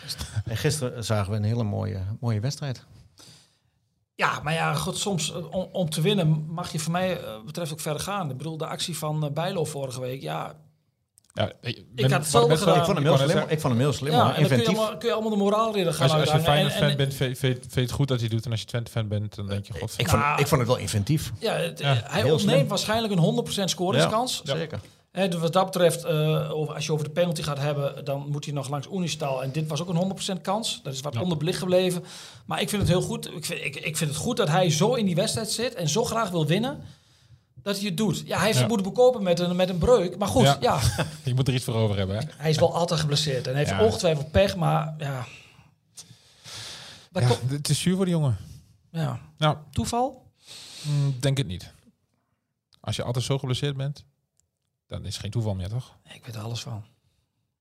E: en gisteren zagen we een hele mooie, mooie wedstrijd.
F: Ja, maar ja, goed, soms eh, om, om te winnen mag je voor mij eh, betreft ook verder gaan. Ik bedoel, de actie van eh, Bijlo vorige week, ja.
D: Ja,
F: had hetzelfde gedaan.
E: Ik vond hem heel slim. Ik vond hem heel slim.
F: ja
E: hoor.
F: en dan kun je,
E: inventief.
F: allemaal, kun je allemaal de moraalridder gaan
D: Als je, als je
F: uithangen.
D: Feyenoord
F: nou En- en-
D: fan bent, vind vind- vind je het goed dat hij doet. En als je Twente fan bent, dan denk je... God,
E: Ik
F: Nou,
E: vond, ik vond het wel inventief.
F: Ja, het-
D: Ja,
F: hij
E: heel
F: ontneemt
E: slim.
F: waarschijnlijk een 100% scoringskans.
E: Zeker.
F: Hè, dus wat dat betreft, eh, over, als je over de penalty gaat hebben, dan moet hij nog langs Unistal. En dit was ook een 100% kans. Dat is wat onderbelicht gebleven. Maar ik vind het heel goed. Ik vind, ik, ik vind het goed dat hij zo in die wedstrijd zit en zo graag wil winnen. Dat hij het doet. Ja, hij heeft het
D: Ja.
F: moeten bekopen met een, met een breuk. Maar goed,
D: Ja.
F: ja. *laughs*
D: je moet er iets voor over hebben, hè?
F: hij is wel altijd geblesseerd. En hij heeft
D: Ja.
F: ongetwijfeld pech, maar ja. Dat
D: Ja,
F: komt-
D: het is zuur voor die jongen.
F: ja.
D: Nou,
F: Toeval?
D: mm, denk het niet. Als je altijd zo geblesseerd bent, dan is het geen toeval meer, toch?
F: Nee, ik weet er alles van.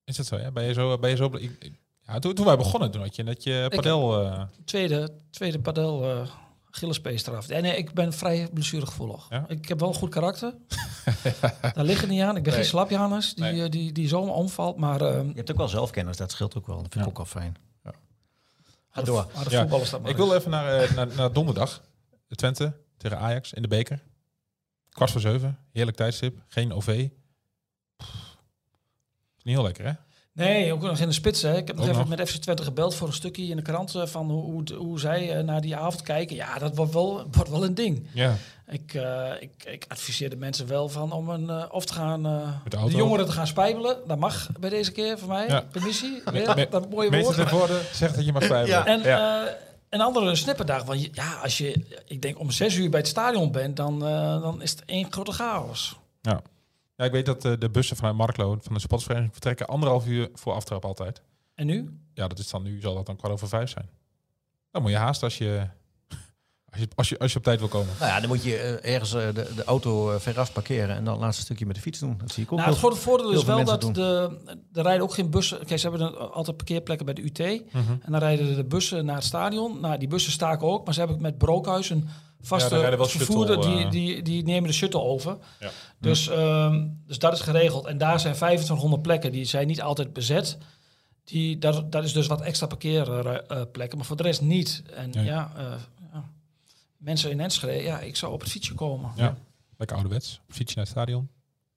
D: Is dat zo, ja? Ben je zo... Ben je zo ik, ik- ja, toen, toen wij begonnen, toen had je net je padel... eh,
F: tweede, tweede padel eh Gillespees eraf. En nee, ik ben vrij blessuregevoelig.
D: Ja?
F: Ik heb wel een goed
D: *laughs*
F: karakter. Daar ligt het niet aan. Ik ben geen slap Johannes die,
D: Nee.
F: eh, die, die zomaar omvalt. Maar ehm
E: Je hebt ook wel zelfkennis, dat scheelt ook wel. Dat vind ik
D: Ja.
E: ook wel fijn.
F: de,
E: door.
F: harde
D: Ja.
F: voetballers dat maar
D: Ik
F: eens.
D: wil even naar, eh, naar, naar donderdag. Twente tegen Ajax in de beker. Kwart voor zeven. Heerlijk tijdstip. Geen OV. Pff. Niet heel lekker, hè?
F: Nee, ook nog in de spits. Hè. Ik heb nog
D: Ook
F: even
D: nog.
F: met FC Twente gebeld voor een stukje in de krant eh, van hoe, hoe, het- hoe zij eh, naar die avond kijken. Ja, dat wordt wel, *laughs* wordt wel een ding.
D: Ja.
F: Ik, eh, ik, ik adviseer de mensen wel van om een eh, of te gaan eh,
D: Met de
F: de,
D: auto.
F: jongeren te gaan spijbelen. Dat mag bij deze keer voor mij.
D: Ja.
F: Permissie.
D: Me-
F: Weer
D: me-
F: dat mooie
D: Meester
F: woord.
D: ten woorden zegt dat je mag spijbelen.
E: Ja.
F: En eh, een andere snipperdag. Want je- ja, als je, ik denk, om zes uur bij het stadion bent, dan, eh, dan is het één grote chaos.
D: Ja. Ja, ik weet dat eh, de bussen vanuit Marklo van de supportersvereniging vertrekken anderhalf uur voor aftrap altijd.
F: En nu?
D: Ja, dat is dan nu, zal dat dan kwart over vijf zijn. Dan moet je haast als je, *laughs* als je, als je, als je op tijd wil komen.
E: Nou ja, dan moet je eh, ergens eh, de, de auto eh, veraf parkeren en dan het laatste stukje met de fiets doen. Dat zie ik ook
F: Nou, het
E: heel-
F: grote voordeel
E: heel
F: is
E: veel
F: wel
E: mensen
F: dat de, er rijden ook geen bussen. Kijk, ze hebben dan altijd parkeerplekken bij de UT.
D: Mhm.
F: En dan rijden de bussen naar het stadion. Nou, die bussen staken ook. Maar ze hebben met Brookhuis een vaste
D: Ja, daar rijden wel
F: vervoerder.
D: shuttle, eh.
F: die, die, die nemen de shuttle over.
D: Ja.
F: Dus, ehm, dus dat is geregeld. En daar zijn 2500 plekken. Die zijn niet altijd bezet. Die, dat, dat is dus wat extra parkeerplekken. Maar voor de rest niet. En
D: Nee.
F: ja, eh, ja, mensen in Enschede. Ja, ik zou op het fietsje komen.
D: Ja. Lekker ouderwets. Op fietsje naar het stadion.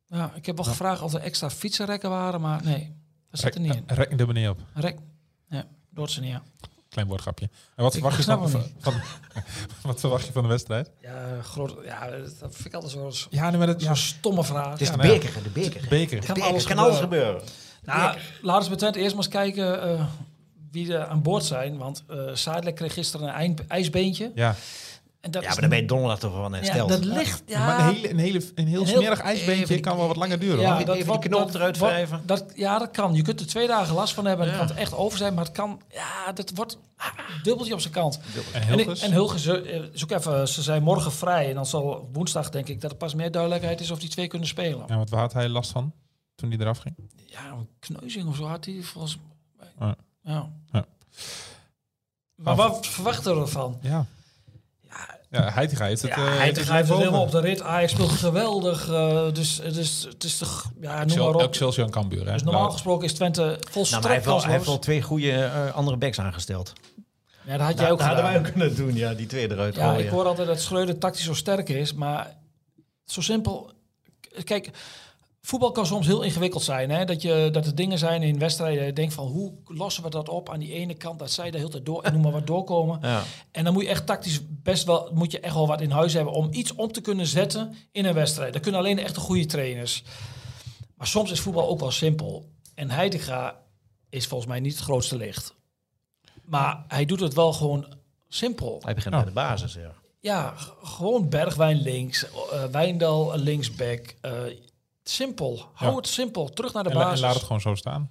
F: Ja, ik heb wel gevraagd of er extra fietsenrekken waren. Maar nee, dat zit er niet in.
D: Rek, rek de meneer op.
F: Een Rek. Ja, doet ze niet aan.
D: Klein woordgrapje. En wat
F: Ik
D: verwacht, je
F: snap
D: van,
F: hem
D: van, wat verwacht je van *laughs* de wedstrijd?
F: Ja, groot, ja, dat vind ik altijd zo'n zo'n
D: Ja, nee, maar dat
F: stomme vraag.
E: Het is
D: Ja,
E: de
D: nou ja.
E: beker, de beker.
D: beker.
F: Kan
E: De
F: alles
E: beker,
F: gebeuren.
E: kan alles gebeuren.
F: Nou, laten we met Twente eerst maar eens kijken eh, wie er aan boord zijn. Want eh Sadler kreeg gisteren een eind- ijsbeentje.
D: Ja.
F: En dat
E: Ja,
F: is-
E: maar daar ben je donderdag toch van eh, Nou,
F: ja,
E: hersteld.
F: dat ligt... Ja,
D: Maar een, hele, een, hele, een heel
F: Heel-
D: smerig
E: even
D: ijsbeentje
E: die-
D: kan wel wat langer duren. hoor.
E: even die
F: wordt-
E: knop
F: dat
E: eruit
F: wordt-
E: wrijven.
F: Dat, ja, dat kan. Je kunt er twee dagen last van hebben. En het kan het echt over zijn. Maar het kan... Ja, dat wordt ah, dubbeltje op zijn kant.
D: En
F: En, ik-
D: Hilgers?
F: en Hulgen, ze, eh, zoek even, ze zijn morgen vrij. En dan zal woensdag denk ik dat er pas meer duidelijkheid is of die twee kunnen spelen.
D: Ja, want waar had hij last van toen hij eraf ging?
F: Ja, een kneuzing of zo had hij volgens mij.
D: Ja.
F: Ja.
D: Ja.
F: Maar wat verwachten we ervan?
D: Ja. Ja, Heitinga heeft het...
F: Ja,
D: eh,
F: hij
D: heeft het
F: grijpt
D: boven.
F: het helemaal op de rit. Ajax speelt geweldig. eh, dus, dus het is toch... Ja, noem maar
D: Excel-
F: op.
D: Excelsior en Cambuur. hè?
F: Dus normaal
D: Nou,
F: gesproken is Twente
E: Nou,
F: volstrekt
E: maar hij heeft wel, hij heeft wel
F: kansloos.
E: twee goede eh, andere backs aangesteld.
F: Ja, dat had jij ook
E: dat Nou, hadden
F: gedaan.
E: wij ook kunnen doen, Oh, ja, die twee eruit
F: Ja,
E: gooien.
F: ik hoor altijd dat Schreuder tactisch zo sterk is, maar zo simpel. K- Kijk, voetbal kan soms heel ingewikkeld zijn. Hè? Dat, je, dat er dingen zijn in wedstrijden. Je denkt van hoe lossen we dat op aan die ene kant, dat zij de hele tijd door en noem maar wat doorkomen.
E: Ja.
F: En dan moet je echt tactisch best wel, moet je echt wel wat in huis hebben om iets om te kunnen zetten in een wedstrijd. Dat kunnen alleen de echte goede trainers. Maar soms is voetbal ook wel simpel. En Heidega is volgens mij niet het grootste licht. Maar hij doet het wel gewoon simpel.
E: Hij begint
D: Ja.
E: bij de basis, ja.
F: Ja, g- gewoon Bergwijn links, eh, Wijndal linksback. eh, simpel. Hou
D: Ja.
F: het simpel. Terug naar de
D: en, la- en
F: basis.
D: laat het gewoon zo staan.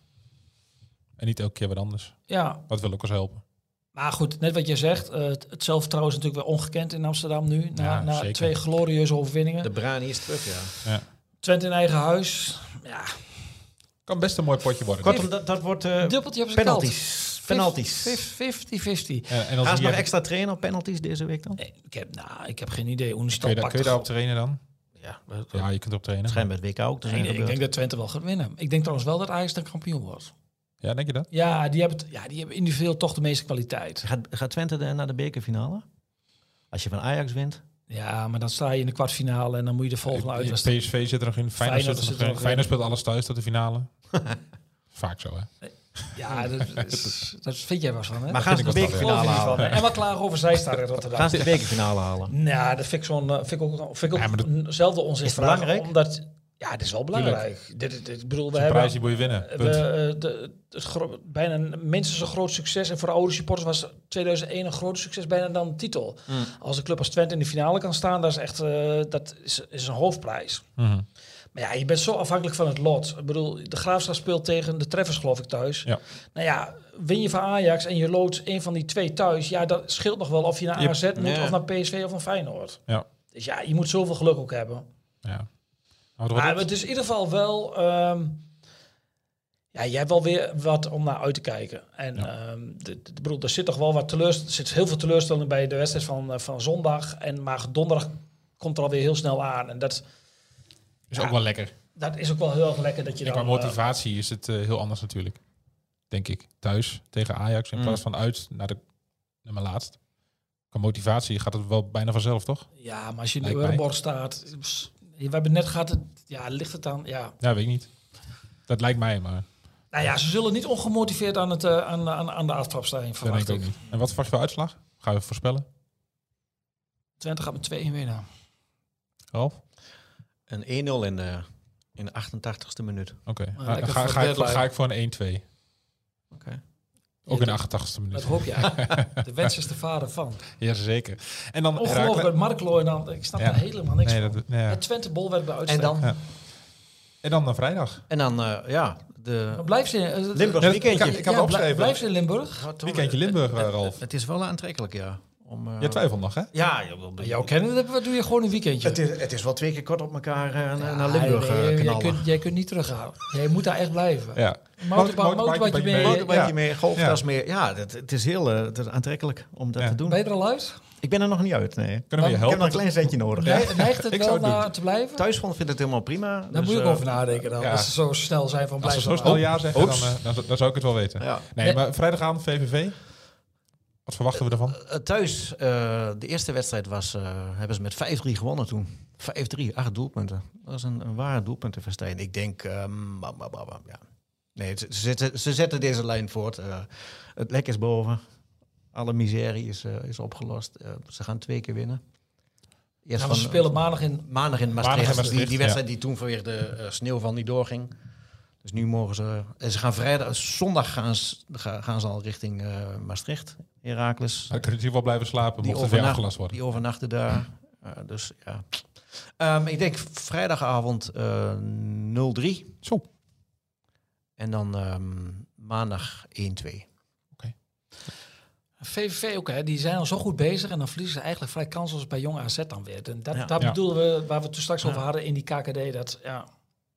D: En niet elke keer wat anders.
F: Ja,
D: Dat wil ook eens helpen.
F: maar goed, net wat je zegt. eh, het, het zelfvertrouwen is natuurlijk weer ongekend in Amsterdam nu. Na,
D: Ja,
F: na
D: zeker.
F: twee glorieuze overwinningen.
E: De Brani is terug, ja.
F: Twente in eigen huis. Ja,
D: Kan best een mooi potje worden.
E: Kortom, dat, dat wordt eh,
F: dubbeltje op zijn
E: penalties.
F: kant.
E: Penalties.
F: Fif- fif- 50-50.
D: Ja, en als
E: Gaan ze
D: die-
E: nog extra trainen op penalties deze week dan?
F: Nee, ik, heb, nou, ik heb geen idee.
D: kun je,
F: Oenestal
D: daar-
F: pakt
D: kun je
F: de
D: daarop trainen dan?
E: Ja,
D: Ja, je kunt erop trainen.
E: schijnbaar bij het WK ook te
F: gro-
E: zijn
F: Nee, nee, ik
E: gebeurd.
F: denk dat Twente wel gaat winnen. Ik denk trouwens wel dat Ajax dan kampioen wordt.
D: Ja, denk je dat?
F: Ja, die hebben, het- ja, die hebben individueel toch de meeste kwaliteit.
E: Gaat, gaat Twente de- naar de bekerfinale? Als je van Ajax wint?
F: Ja, maar dan sta je in de kwartfinale en dan moet je de volgende
D: Ik-
F: uit.
D: PSV zit er nog in. Feyenoord,
F: Feyenoord
D: zit er nog
F: zit er
D: in.
F: nog in.
D: Feyenoord speelt alles thuis tot de finale.
F: *laughs*
D: Vaak zo, hè?
F: Ja, *laughs* dat, is- dat vind jij wel eens van, hè?
E: Maar gaan ze de
D: ik was dat,
F: Geloof
E: bekerfinale
F: je niet van.
E: halen?
F: En wat klagen over Zijstar in
E: Gaan
F: Rotterdam?
E: ze de bekerfinale halen?
F: Nou, dat vind ik, zo'n, eh, vind ik ook, vind ik
D: Ja,
F: ook
D: maar dat-
F: eenzelfde onzin.
E: Is het
F: vraag,
E: belangrijk?
F: Omdat, ja, het is wel belangrijk. Dit, dit, dit- ik bedoel, we
D: De
F: hebben...
D: prijs die moet je winnen.
F: we,
D: Punt.
F: eh, de, het gro- bijna een- minstens een groot succes. En voor de oude supporters was 2001 een groot succes, bijna dan een titel. Als een club als Twente in de finale kan staan, dat is echt eh, dat is, is een hoofdprijs.
D: Mhm.
F: Maar ja, je bent zo afhankelijk van het lot. Ik bedoel, de Graafschap speelt tegen de Treffers, geloof ik, thuis.
D: Ja.
F: Nou ja, win je van Ajax en je loodt een van die twee thuis. Ja, dat scheelt nog wel of je naar
D: Je-
F: AZ moet
E: Ja.
F: of naar PSV of naar Feyenoord.
D: Ja.
F: Dus ja, je moet zoveel geluk ook hebben.
D: ja. Maar wat
F: Maar
D: wordt het?
F: het is in ieder geval wel... ehm, ja, jij hebt wel weer wat om naar uit te kijken. En ehm, de- de- ik bedoel, er zit toch wel wat teleurstelling... Er zit heel veel teleurstelling bij de wedstrijd van, eh, van zondag. En, maar donderdag komt er alweer heel snel aan. En dat,
D: is
F: ja.
D: ook wel lekker.
F: dat is ook wel heel erg lekker dat je
D: En
F: dan...
D: qua
F: eh,
D: motivatie is het eh, heel anders natuurlijk. Denk ik. Thuis tegen Ajax in
E: Mm.
D: plaats van uit naar de nummer laatst. Qua motivatie gaat het wel bijna vanzelf, toch?
F: Ja, maar als je in de
D: Lijkt mij.
F: Euroborg staat... pss, We hebben net gehad... het- Ja, ligt het aan... Ja.
D: Ja, weet ik niet. Dat lijkt mij, maar
F: Nou ja, ze zullen niet ongemotiveerd aan, het, eh, aan, aan, aan de aftrap staan,
D: dat denk
F: verwacht
D: ik ook
F: ik.
D: niet. En wat verwacht je voor uitslag? Ga je voorspellen?
F: Twente gaat met 2-1 winnen.
D: Ralf?
E: Een 1-0 in de, in de 88ste minuut.
D: Oké.
F: Maar
D: Nou, Dan
F: lekker
D: ga,
F: voor
D: ga, ik,
F: deadline.
D: ga ik voor een 1-2.
E: Oké.
D: Ook
F: Ja,
D: in de 88ste
F: Dat
D: minuut.
F: hoop je
D: *laughs*
F: eigenlijk. De wens is de vader van.
D: Jazeker. En dan
F: Ongelooflijk,
D: Heracles-
F: met Mark Looy dan. Ik snap
D: Ja.
F: daar helemaal niks
D: Nee,
F: van.
D: dat, nee, ja.
F: Het Twente bolwerk bij uitstek.
E: En dan,
D: Ja. En dan naar vrijdag.
E: en dan eh, ja, de
F: Maar blijf ze in... eh,
E: Limburgs
D: Nee,
E: weekendje.
D: ik- ik had
F: ja,
D: opgeschreven.
F: blij- Blijf ze in Limburg.
E: Gaat toch-
D: Weekendje Limburg, eh,
E: Het-
D: Ralf.
E: Het, het is wel aantrekkelijk, ja. Om, eh,
D: Je twijfelt nog, hè?
E: Ja, jawel, de-
F: Jouw kennen, dat doe je gewoon een weekendje.
E: het, is, het is wel twee keer kort op elkaar eh,
F: Ja,
E: naar Limburg
F: nee,
E: eh,
F: jij,
E: knallen.
F: kunt, jij kunt niet teruggaan. Jij moet daar echt blijven.
D: Ja.
F: Motorbike-
D: Motorbike-
F: motorbike
D: motorbike-
F: mee.
E: Ook een beetje
D: Ja.
E: meer, golftas
D: Ja.
E: meer. Ja, dat, het is heel eh, het is aantrekkelijk om dat
D: Ja.
E: te doen.
F: Ben je er al uit?
E: Ik ben er nog niet uit, nee.
D: Kunnen we je
E: Ik heb nog een
D: helpen?
E: klein zetje nodig.
D: Ja.
F: Ne- Neigt het
D: Ik
F: wel
D: zou het
F: naar
D: doen.
F: te blijven?
E: Thuisgrond vindt het helemaal prima. dus, eh,
F: Daar moet
E: ik
F: ik over nadenken dan.
D: ja.
F: Als ze zo snel zijn van
D: Als ze
F: blijven. Oh.
D: zo snel
F: maar-
D: ja zeggen, dan,
E: Oeps.
D: eh, dan, z- dan zou ik het wel weten.
E: Ja.
D: Nee,
F: Nee.
D: maar vrijdagavond VVV. Wat verwachten we ervan?
E: Eh, Thuis, eh, de eerste wedstrijd was, eh, hebben ze met 5-3 gewonnen toen. 5-3, acht doelpunten. Dat is een, een ware doelpuntenfestijn. Ik denk, ehm, bam, bam, bam, bam, ja. Nee, ze, ze zetten, ze zetten deze lijn voort. Eh, het lek is boven. Alle miserie is, eh, is opgelost. Eh, ze gaan twee keer winnen. Eerst
F: Nou, we
E: van-
F: spelen maandag in...
E: maandag in Maastricht.
D: Maandag in Maastricht,
E: die, die
D: ja.
E: wedstrijd die toen vanwege de eh, sneeuw van niet doorging. Dus nu mogen ze... en Ze gaan vrijdag... Zondag gaan ze, ga- gaan ze al richting eh, Maastricht, Heracles.
D: Hij kan natuurlijk wel blijven slapen, mocht het weer
E: overnacht-
D: afgelast worden.
E: Die overnachten daar. Eh, dus ja. Ehm, ik denk vrijdagavond eh 0-3.
D: Zo.
E: En dan ehm, maandag 1-2.
F: VVV ook, hè, die zijn al zo goed bezig en dan verliezen ze eigenlijk vrij kansloos bij Jong AZ dan weer. En dat,
E: Ja.
F: dat
D: Ja.
F: bedoelen we, waar we het toen straks over hadden in die KKD, dat ja,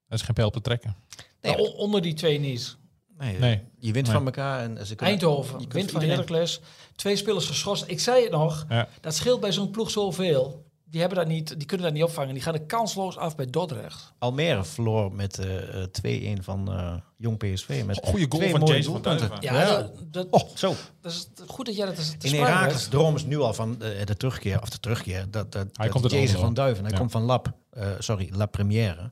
D: Er is geen pijl op te trekken.
E: Nee.
F: nou, on- onder die twee niet.
E: Nee,
D: Nee.
E: Je wint
D: Nee.
E: van elkaar. En ze kunnen- je
F: Eindhoven,
E: kunt
F: wint van
E: iedereen-
F: Heracles, twee spelers geschorst. Ik zei het nog,
D: Ja.
F: dat scheelt bij zo'n ploeg zoveel. Die, hebben dat niet, die kunnen dat niet opvangen, die gaan er kansloos af bij Dordrecht.
E: Almere verloor met eh, eh, 2-1 van eh, Jong PSV. Met
D: Goeie goal
E: twee
D: van
E: mooie
D: Jason van
E: doelpunten.
F: Ja,
D: Duiven.
F: dat, dat-
E: Oh, zo.
F: dat is goed dat jij dat is te
E: In
F: sprake
E: Herakles
F: brengt.
E: droom is nu al van eh, de terugkeer. Of de terugkeer. Dat,
D: Hij
E: dat, dat
D: komt uit
E: Jason
D: Almelo.
E: van Duiven. Hij
D: Ja.
E: komt van Lab. eh, sorry, La Première.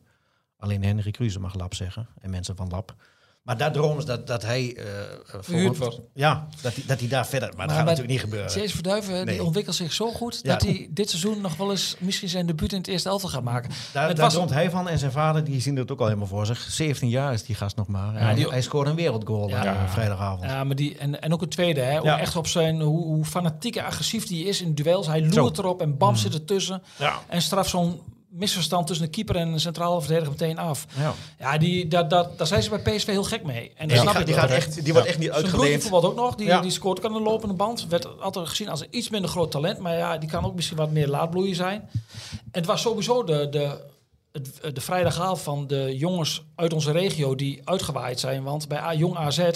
E: Alleen Henry Kruse mag Lab zeggen. En mensen van Lab. Maar daar droom is dat, dat hij... eh, eh,
F: Verhuurd
E: voor-
F: wordt.
E: Ja, dat hij, dat hij daar verder... Maar, dat
F: Maar
E: gaat
F: bij
E: natuurlijk niet gebeuren.
F: Jason Verduiven
E: Eh, Nee.
F: die ontwikkelt zich zo goed
E: Ja.
F: dat hij dit seizoen nog wel eens misschien zijn debuut in het eerste elftal gaat maken.
E: Daar,
F: het
E: daar
F: was-
E: droomt hij van. En zijn vader, die zien het ook al helemaal voor zich. 17 jaar is die gast nog maar. En
F: Ja,
E: hij-
F: die-
E: Hij scoorde een wereldgoal
F: Ja.
E: eh, vrijdagavond.
F: Ja, maar die, en, en ook een tweede, hè,
E: Ja.
F: ook echt op zijn, hoe, hoe fanatiek en agressief die is in duels. Hij
E: Zo. Mm.
F: loert erop en bam zit ertussen.
E: Ja.
F: En straft zo'n misverstand tussen de keeper en de centrale verdediger meteen af.
E: Ja.
F: Ja, die, dat, dat, daar zijn ze bij PSV heel gek mee. En dat
E: Die,
F: snap
E: gaat,
F: ik
E: die,
F: wel.
E: gaat echt, die wordt echt niet
F: Zijn broertje
E: uitgeleend.
F: bijvoorbeeld ook nog, die,
E: Ja.
F: die scoort ook aan de lopende band. Werd altijd gezien als een iets minder groot talent. Maar ja, die kan ook misschien wat meer laadbloeier zijn. En het was sowieso de, de, het- de vrijdagavond van de jongens uit onze regio die uitgewaaid zijn. Want bij A- Jong AZ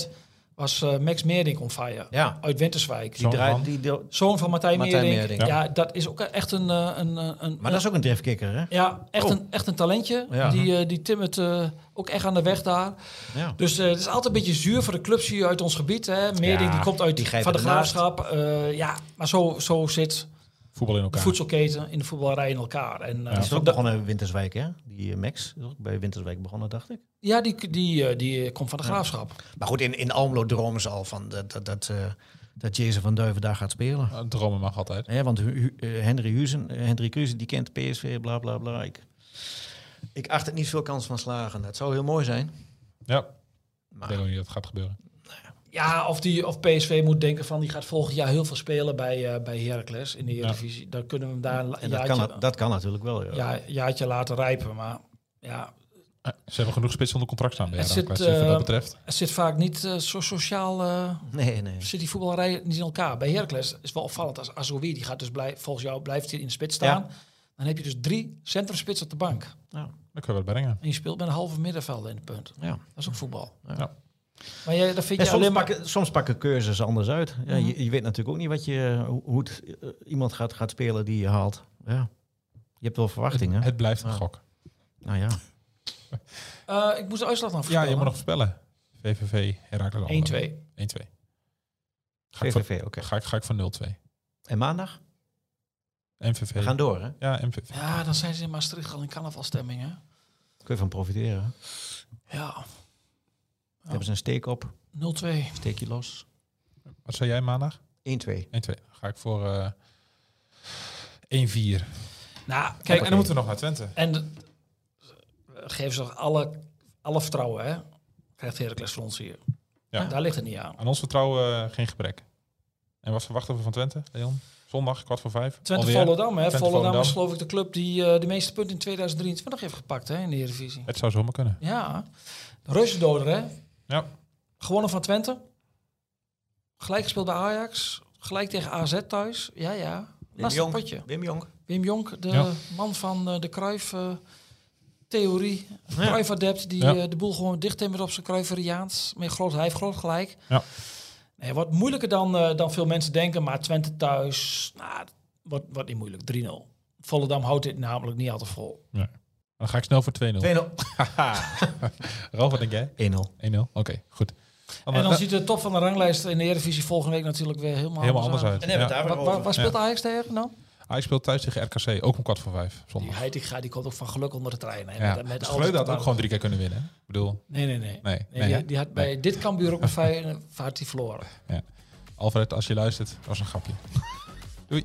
F: was eh, Max Meerdink on fire.
E: Ja.
F: Uit Winterswijk.
E: Die
D: Zo'n
E: draait,
D: man.
E: die, die-
F: Zoon van Martijn,
E: Martijn
F: Meerdink.
E: Meerdink.
F: Ja. dat is ook echt een... eh, een, eh, een
E: maar dat is ook een driftkikker, hè?
F: ja, echt,
E: Oh.
F: een, echt een talentje.
E: Ja.
F: Die, eh, die timmert eh, ook echt aan de weg daar.
E: Ja.
F: Dus eh, het is altijd een beetje zuur voor de clubs hier uit ons gebied. Hè. Meerding die komt uit
E: die grijpen
F: van de
E: ernaast.
F: graafschap. eh, ja, maar zo, zo zit
D: Voetbal in
F: de
D: elkaar.
F: voedselketen in de voetbalrij in elkaar. En, eh,
E: Die is ook
F: da-
E: begonnen in Winterswijk, hè? Die eh, Max is ook bij Winterswijk begonnen, dacht ik.
F: ja, die, die, eh, die komt van de graafschap.
E: Maar goed, in, in Almelo dromen ze al van dat, dat, dat, eh, dat Jason van Duiven daar gaat spelen.
D: Eh, Dromen mag altijd.
E: Hè, want Hu- Hu- eh, Henry, Huizen, eh, Henry Kruse, die kent PSV, bla bla bla. Ik, ik acht het niet veel kans van slagen. Het zou heel mooi zijn.
D: Ja.
E: Maar-
D: Ik denk ook niet dat het gaat gebeuren.
F: Ja, of, die, of PSV moet denken van die gaat volgend jaar heel veel spelen bij, eh bij Heracles in de Eredivisie. Dan kunnen we hem daar een
E: En dat,
F: jaartje,
E: kan, dat kan natuurlijk wel. Ja.
F: ja, jaartje laten rijpen. Maar ja,
D: Eh, Ze hebben genoeg spits onder contract staan bij
F: Het
D: Heracles,
F: zit,
D: eh, wat dat
F: eh,
D: betreft.
F: het zit vaak niet eh, zo sociaal... eh,
E: Nee, nee.
F: zit die voetballerij niet in elkaar. Bij Heracles is wel opvallend als Azoui, die gaat dus blij, volgens jou blijft hij in de spits staan. Dan heb je dus drie centrumspits op de bank.
D: Dan kunnen we het brengen.
F: En je speelt met een halve middenvelder in het punt.
E: Ja.
F: Dat is ook voetbal.
D: Ja.
F: Maar jij, dat vind
E: En
F: je
E: soms,
F: alleen maar...
E: pakken, soms pakken keuzes anders uit. Ja, je, je weet natuurlijk ook niet wat je, hoe hoe het, eh, iemand gaat, gaat spelen die je haalt. Ja. Je hebt wel verwachtingen.
D: Het blijft een
E: Ja.
D: gok.
E: nou ja.
F: Eh, ik moest de uitslag dan
D: Ja, je
F: voorspellen.
D: moet nog voorspellen. VVV, Heracles Almelo.
F: 1-2.
D: 1-2. Ga, ik voor-
E: VVV, oké.
D: ga, ik- ga ik voor 0-2.
E: En maandag?
D: MVV.
E: We gaan door, hè?
D: Ja, MVV.
F: Ja, dan zijn ze in Maastricht al in carnavalstemming, hè?
E: Kun je van profiteren. Daar
F: Ja,
E: Hebben ze een steek op,
F: 0-2.
E: steekje los.
D: Wat zei jij maandag?
E: 1-2.
D: 1-2. Ga ik voor eh 1-4.
F: Nou,
D: Kijk,
F: kijk,
D: en dan
F: en,
D: moeten we nog naar Twente.
F: en geef ze nog alle, alle vertrouwen, hè? Krijgt Heracles voor ons hier.
D: Ja.
F: Daar ligt het niet aan.
D: Aan ons vertrouwen eh, geen gebrek. En wat verwachten we van Twente, Leon? Zondag, kwart voor vijf.
F: Twente
D: Alweer.
F: Volendam, hè?
D: Twente
F: Volendam
D: Volendam.
F: is geloof ik de club die eh, de meeste punten in 2023 heeft gepakt hè, in de Eredivisie.
D: Het zou zomaar kunnen.
F: Ja, reuzendoder hè.
D: Ja.
F: Gewonnen van Twente. Gelijk gespeeld bij Ajax. Gelijk tegen AZ thuis. Ja, ja. Lastig potje.
E: Wim Jong.
F: Wim Jonk, de
D: Ja.
F: man van eh, de Cruijff-theorie. Cruijff-adept die
D: Ja.
F: eh, de boel gewoon dicht timmert op zijn Cruijfferiaans. Met groot, hij heeft groot gelijk.
D: Ja.
F: Nee, wordt moeilijker dan, eh, dan veel mensen denken. Maar Twente thuis, nou, het wordt, wordt niet moeilijk. 3-0. Volendam houdt dit namelijk niet altijd vol.
D: Dan ga ik snel voor 2-0.
E: *laughs* 2-0.
D: Ralf, wat denk jij?
E: 1-0.
D: 1-0? Oké, goed. Eh,
F: En dan ziet de top van de ranglijst in de Eredivisie volgende week natuurlijk weer helemaal,
D: helemaal anders uit. Ja.
F: Waar, waar- waar speelt Ajax tegen dan?
D: Hij speelt thuis tegen RKC, ook om kwart voor vijf.
F: Die
D: Zondag.
F: Heitinga die komt ook van geluk onder de trein. Hè?
D: Ja.
F: Met, met
D: het
F: al
D: is leuk
F: die
D: dat ook gewoon drie keer kunnen winnen. hè? Ik bedoel,
F: Nee, nee, nee.
D: nee.
F: Nee,
D: nee,
F: die,
D: hè?
F: die had bij dit Cambuur ook
D: *laughs*
F: met Feyenoord had hij verloren.
D: Alfred, als je luistert, was een grapje. Doei.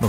G: We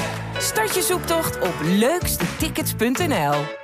H: Start je zoektocht op leukstetickets.nl.